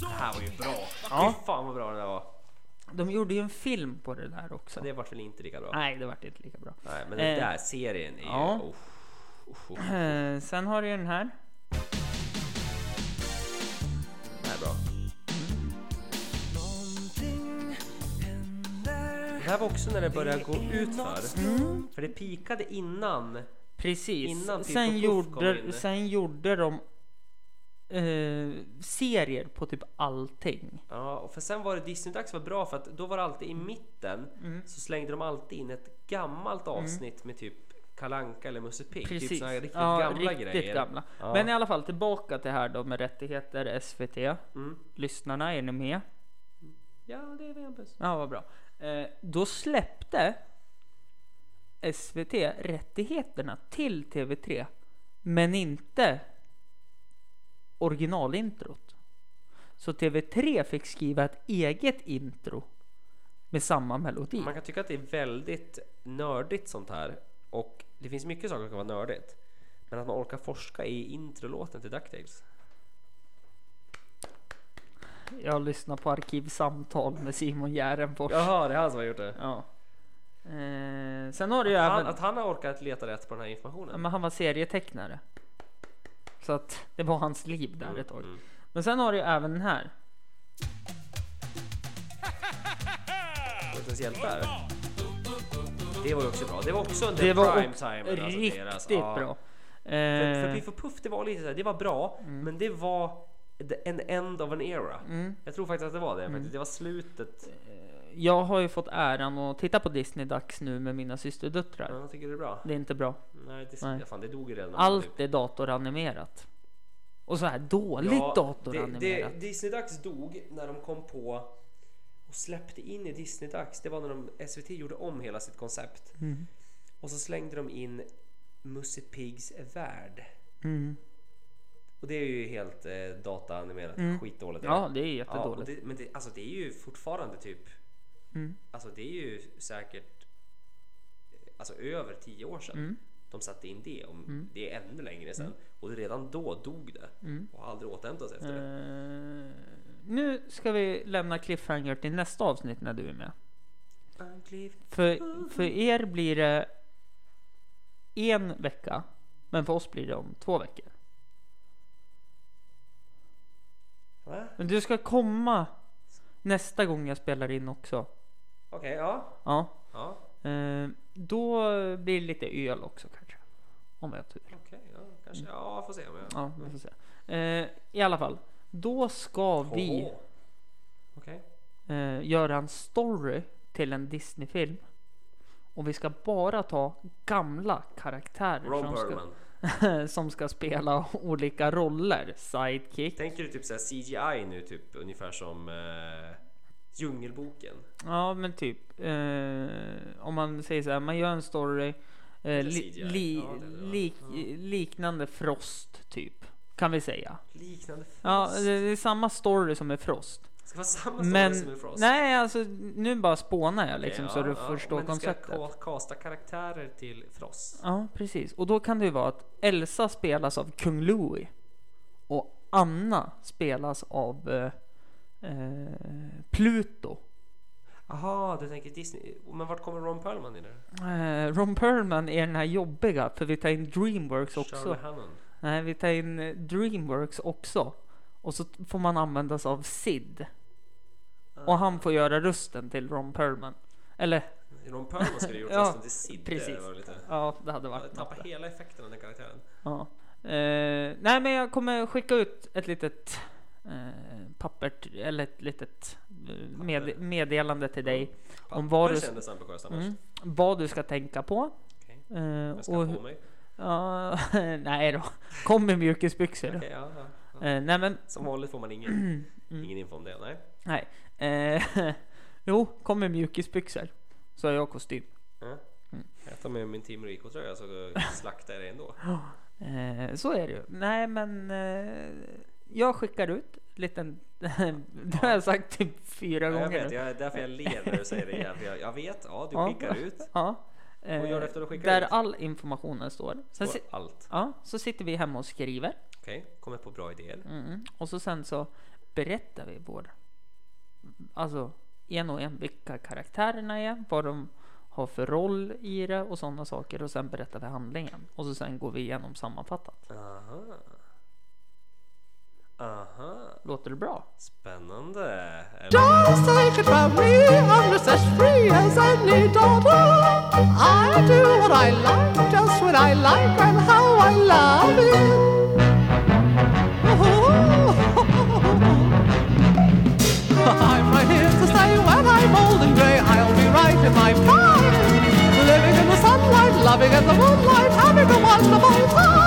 Speaker 3: Det här var ju bra.
Speaker 2: Ja.
Speaker 3: Fy fan vad bra det där var.
Speaker 2: De gjorde ju en film på det där också.
Speaker 3: Det vart väl inte lika bra.
Speaker 2: Nej, det vart inte lika bra.
Speaker 3: Nej, men den
Speaker 2: Eh.
Speaker 3: där serien är ju...
Speaker 2: Ja.
Speaker 3: Oh, oh, oh.
Speaker 2: Eh, sen har du ju den här.
Speaker 3: Det här är bra. Det här var också när det började gå utför. För det pikade innan.
Speaker 2: Precis.
Speaker 3: Innan Pippi
Speaker 2: sen,
Speaker 3: Puff kom
Speaker 2: gjorde,
Speaker 3: in.
Speaker 2: sen gjorde de eh, serier på typ allting.
Speaker 3: Ja, och för sen var det Disney-dags var bra för att då var det alltid i mitten
Speaker 2: Mm.
Speaker 3: så slängde de alltid in ett gammalt avsnitt med typ Kalanka eller Musse Pigg. Typ
Speaker 2: Precis.
Speaker 3: såna här riktigt
Speaker 2: ja,
Speaker 3: gamla
Speaker 2: riktigt
Speaker 3: grejer.
Speaker 2: gamla.
Speaker 3: Ja.
Speaker 2: Men i alla fall tillbaka till här då med rättigheter SVT.
Speaker 3: Mm.
Speaker 2: Lyssnarna, är ni med?
Speaker 3: Ja, det är Hampus.
Speaker 2: Ja, vad bra. Eh, då släppte SVT rättigheterna till TV3, men inte originalintrot. Så TV3 fick skriva ett eget intro med samma melodi.
Speaker 3: Man kan tycka att det är väldigt nördigt sånt här. Och det finns mycket saker som kan vara nördigt. Men att man orkar forska i introlåten till DuckTales.
Speaker 2: Jag lyssnar på arkivsamtal med Simon Järnfors.
Speaker 3: Jaha, det är han som har gjort det.
Speaker 2: Ja. Eh, sen har du ju
Speaker 3: Han,
Speaker 2: även...
Speaker 3: att han har orkat leta rätt på den här
Speaker 2: Ja,
Speaker 3: informationen.
Speaker 2: men han var serietecknare. Så att det var hans liv där ett
Speaker 3: Mm.
Speaker 2: tag. Men sen har du ju även den här.
Speaker 3: Potens hjältar. Det var ju också bra. Det var också under
Speaker 2: Det var
Speaker 3: prime
Speaker 2: också
Speaker 3: time. alltså,
Speaker 2: riktigt
Speaker 3: Ja.
Speaker 2: bra.
Speaker 3: För, för
Speaker 2: Eh,
Speaker 3: Piff och Puff, det var lite så här, det var bra, men det var the- en end of an era. Jag tror faktiskt att det var det. faktiskt. Det var slutet.
Speaker 2: jag har ju fått äran att titta på Disney-dags nu med mina
Speaker 3: Men
Speaker 2: systerdöttrar.
Speaker 3: jag tycker det är bra.
Speaker 2: Det är inte bra.
Speaker 3: Nej, det,
Speaker 2: Nej.
Speaker 3: Fan, det dog ju redan. Typ.
Speaker 2: Allt är datoranimerat. Och så här dåligt
Speaker 3: det,
Speaker 2: datoranimerat.
Speaker 3: det, Disney-dags dog när de kom på och släppte in i Disney-dags. Det var när de, SVT gjorde om hela sitt koncept.
Speaker 2: Mm.
Speaker 3: Och så slängde de in Musse Piggs värld.
Speaker 2: Mm.
Speaker 3: Och det är ju helt eh, dataanimerat. Skitdåligt.
Speaker 2: Mm. Ja, det Mm. är
Speaker 3: Ja, och
Speaker 2: jättedåligt.
Speaker 3: det, men det, alltså det är ju fortfarande typ... Alltså det är ju säkert alltså över tio år sedan
Speaker 2: Mm.
Speaker 3: de satte in det. Om, Det är ännu längre sedan. Och redan då dog det.
Speaker 2: Mm.
Speaker 3: Och har aldrig återhämtat sig efter det.
Speaker 2: Eh, nu ska vi lämna cliffhanger till nästa avsnitt när du är med.
Speaker 3: Ankliv.
Speaker 2: För, för
Speaker 3: Mm.
Speaker 2: er blir det en vecka, men för oss blir det om två veckor.
Speaker 3: Va?
Speaker 2: Men du ska komma nästa gång jag spelar in också.
Speaker 3: Okej, ja.
Speaker 2: Ja,
Speaker 3: ja.
Speaker 2: eh, då blir det lite öl också kanske. Om jag har tur.
Speaker 3: Okej, ja, kanske. Ja, får se om jag...
Speaker 2: Mm. Ja, vi får se. Eh, I alla fall. Då ska vi
Speaker 3: Åh. Okej.
Speaker 2: eh, göra en story till en Disney-film. Och vi ska bara ta gamla karaktärer
Speaker 3: Ron
Speaker 2: som ska,
Speaker 3: Perlman.
Speaker 2: som ska spela olika roller. Sidekick.
Speaker 3: Tänker du typ såhär CGI nu, typ ungefär som eh, Djungelboken?
Speaker 2: Ja men typ. Eh, om man säger så här, man gör en story. Eh, li,
Speaker 3: CGI.
Speaker 2: li,
Speaker 3: Ja, det är det, va?
Speaker 2: lik, liknande Frost typ. Kan vi säga.
Speaker 3: Liknande Frost.
Speaker 2: Ja, det är samma story som är Frost.
Speaker 3: Ska vara samma story
Speaker 2: Men
Speaker 3: som i Frost.
Speaker 2: nej, alltså nu bara spånar jag liksom
Speaker 3: Okej,
Speaker 2: så
Speaker 3: ja,
Speaker 2: du
Speaker 3: ja,
Speaker 2: förstår
Speaker 3: men
Speaker 2: konceptet.
Speaker 3: Men ska kasta karaktärer till Frost.
Speaker 2: Ja, precis. Och då kan det ju vara att Elsa spelas av kung Louis och Anna spelas av eh, eh, Pluto.
Speaker 3: Aha, du tänker Disney. Men vart kommer Ron Perlman in där?
Speaker 2: Eh, Ron Perlman är den här jobbiga för vi tar in Dreamworks också.
Speaker 3: Charlie Hannon.
Speaker 2: Nej, vi tar in eh, Dreamworks också. Och så får man använda sig av Sid. Och han får göra rösten till Ron Perlman. Eller
Speaker 3: Ah. Ron Perlman skulle ju gjort
Speaker 2: Ja,
Speaker 3: rösten till Sid.
Speaker 2: precis.
Speaker 3: Det var lite...
Speaker 2: ja, det hade
Speaker 3: Jag
Speaker 2: varit något.
Speaker 3: tappade hela effekten av den karaktären.
Speaker 2: Ja. Eh, nej, men jag kommer skicka ut ett litet eh, papper t- eller ett litet eh, med, meddelande till dig om vad
Speaker 3: det
Speaker 2: du,
Speaker 3: kändes ambitiöst annars.
Speaker 2: mm, vad du ska tänka på.
Speaker 3: Okej.
Speaker 2: Eh,
Speaker 3: Jag ska
Speaker 2: och,
Speaker 3: på mig.
Speaker 2: ja, nej då, kom med mjukisbyxor.
Speaker 3: Okej, ja, ja, ja.
Speaker 2: Eh, nej men,
Speaker 3: Som vanligt får man ingen,
Speaker 2: Mm.
Speaker 3: ingen info om det. Nej.
Speaker 2: nej. Eh, jo, kom med mjukisbyxor. Så har jag kostym.
Speaker 3: Jag tar med min Team Rico-tröja så slaktar jag det ändå.
Speaker 2: Eh, så är det ju. Nej men, eh, jag skickar ut liten, det har jag sagt typ fyra
Speaker 3: Ja,
Speaker 2: gånger
Speaker 3: jag
Speaker 2: nu.
Speaker 3: vet, jag, är därför jag ler när du säger det igen. för Jag, jag vet, ja du
Speaker 2: Ja.
Speaker 3: skickar ut.
Speaker 2: Ja. Eh,
Speaker 3: gör du efter att skicka
Speaker 2: där
Speaker 3: ut?
Speaker 2: all informationen står. Sen
Speaker 3: Får
Speaker 2: si-
Speaker 3: allt.
Speaker 2: ja, så sitter vi hemma och skriver.
Speaker 3: Okej, kommer på bra idéer.
Speaker 2: Mm. Och så sen så berättar vi vår... Alltså en och en vilka karaktärerna är, vad de har för roll i det och sådana saker. Och sen berättar vi handlingen. Och så sen går vi igenom sammanfattat.
Speaker 3: Aha. Aha.
Speaker 2: Låter det bra?
Speaker 3: Spännande. Är det-
Speaker 1: Just take it from me, I'm just as free as any daughter. I do what I like, just what I like, and how I love it. I'm right here to stay when I'm old and grey. I'll be right in my prime, living in the sunlight, loving in the moonlight, having a wonderful time.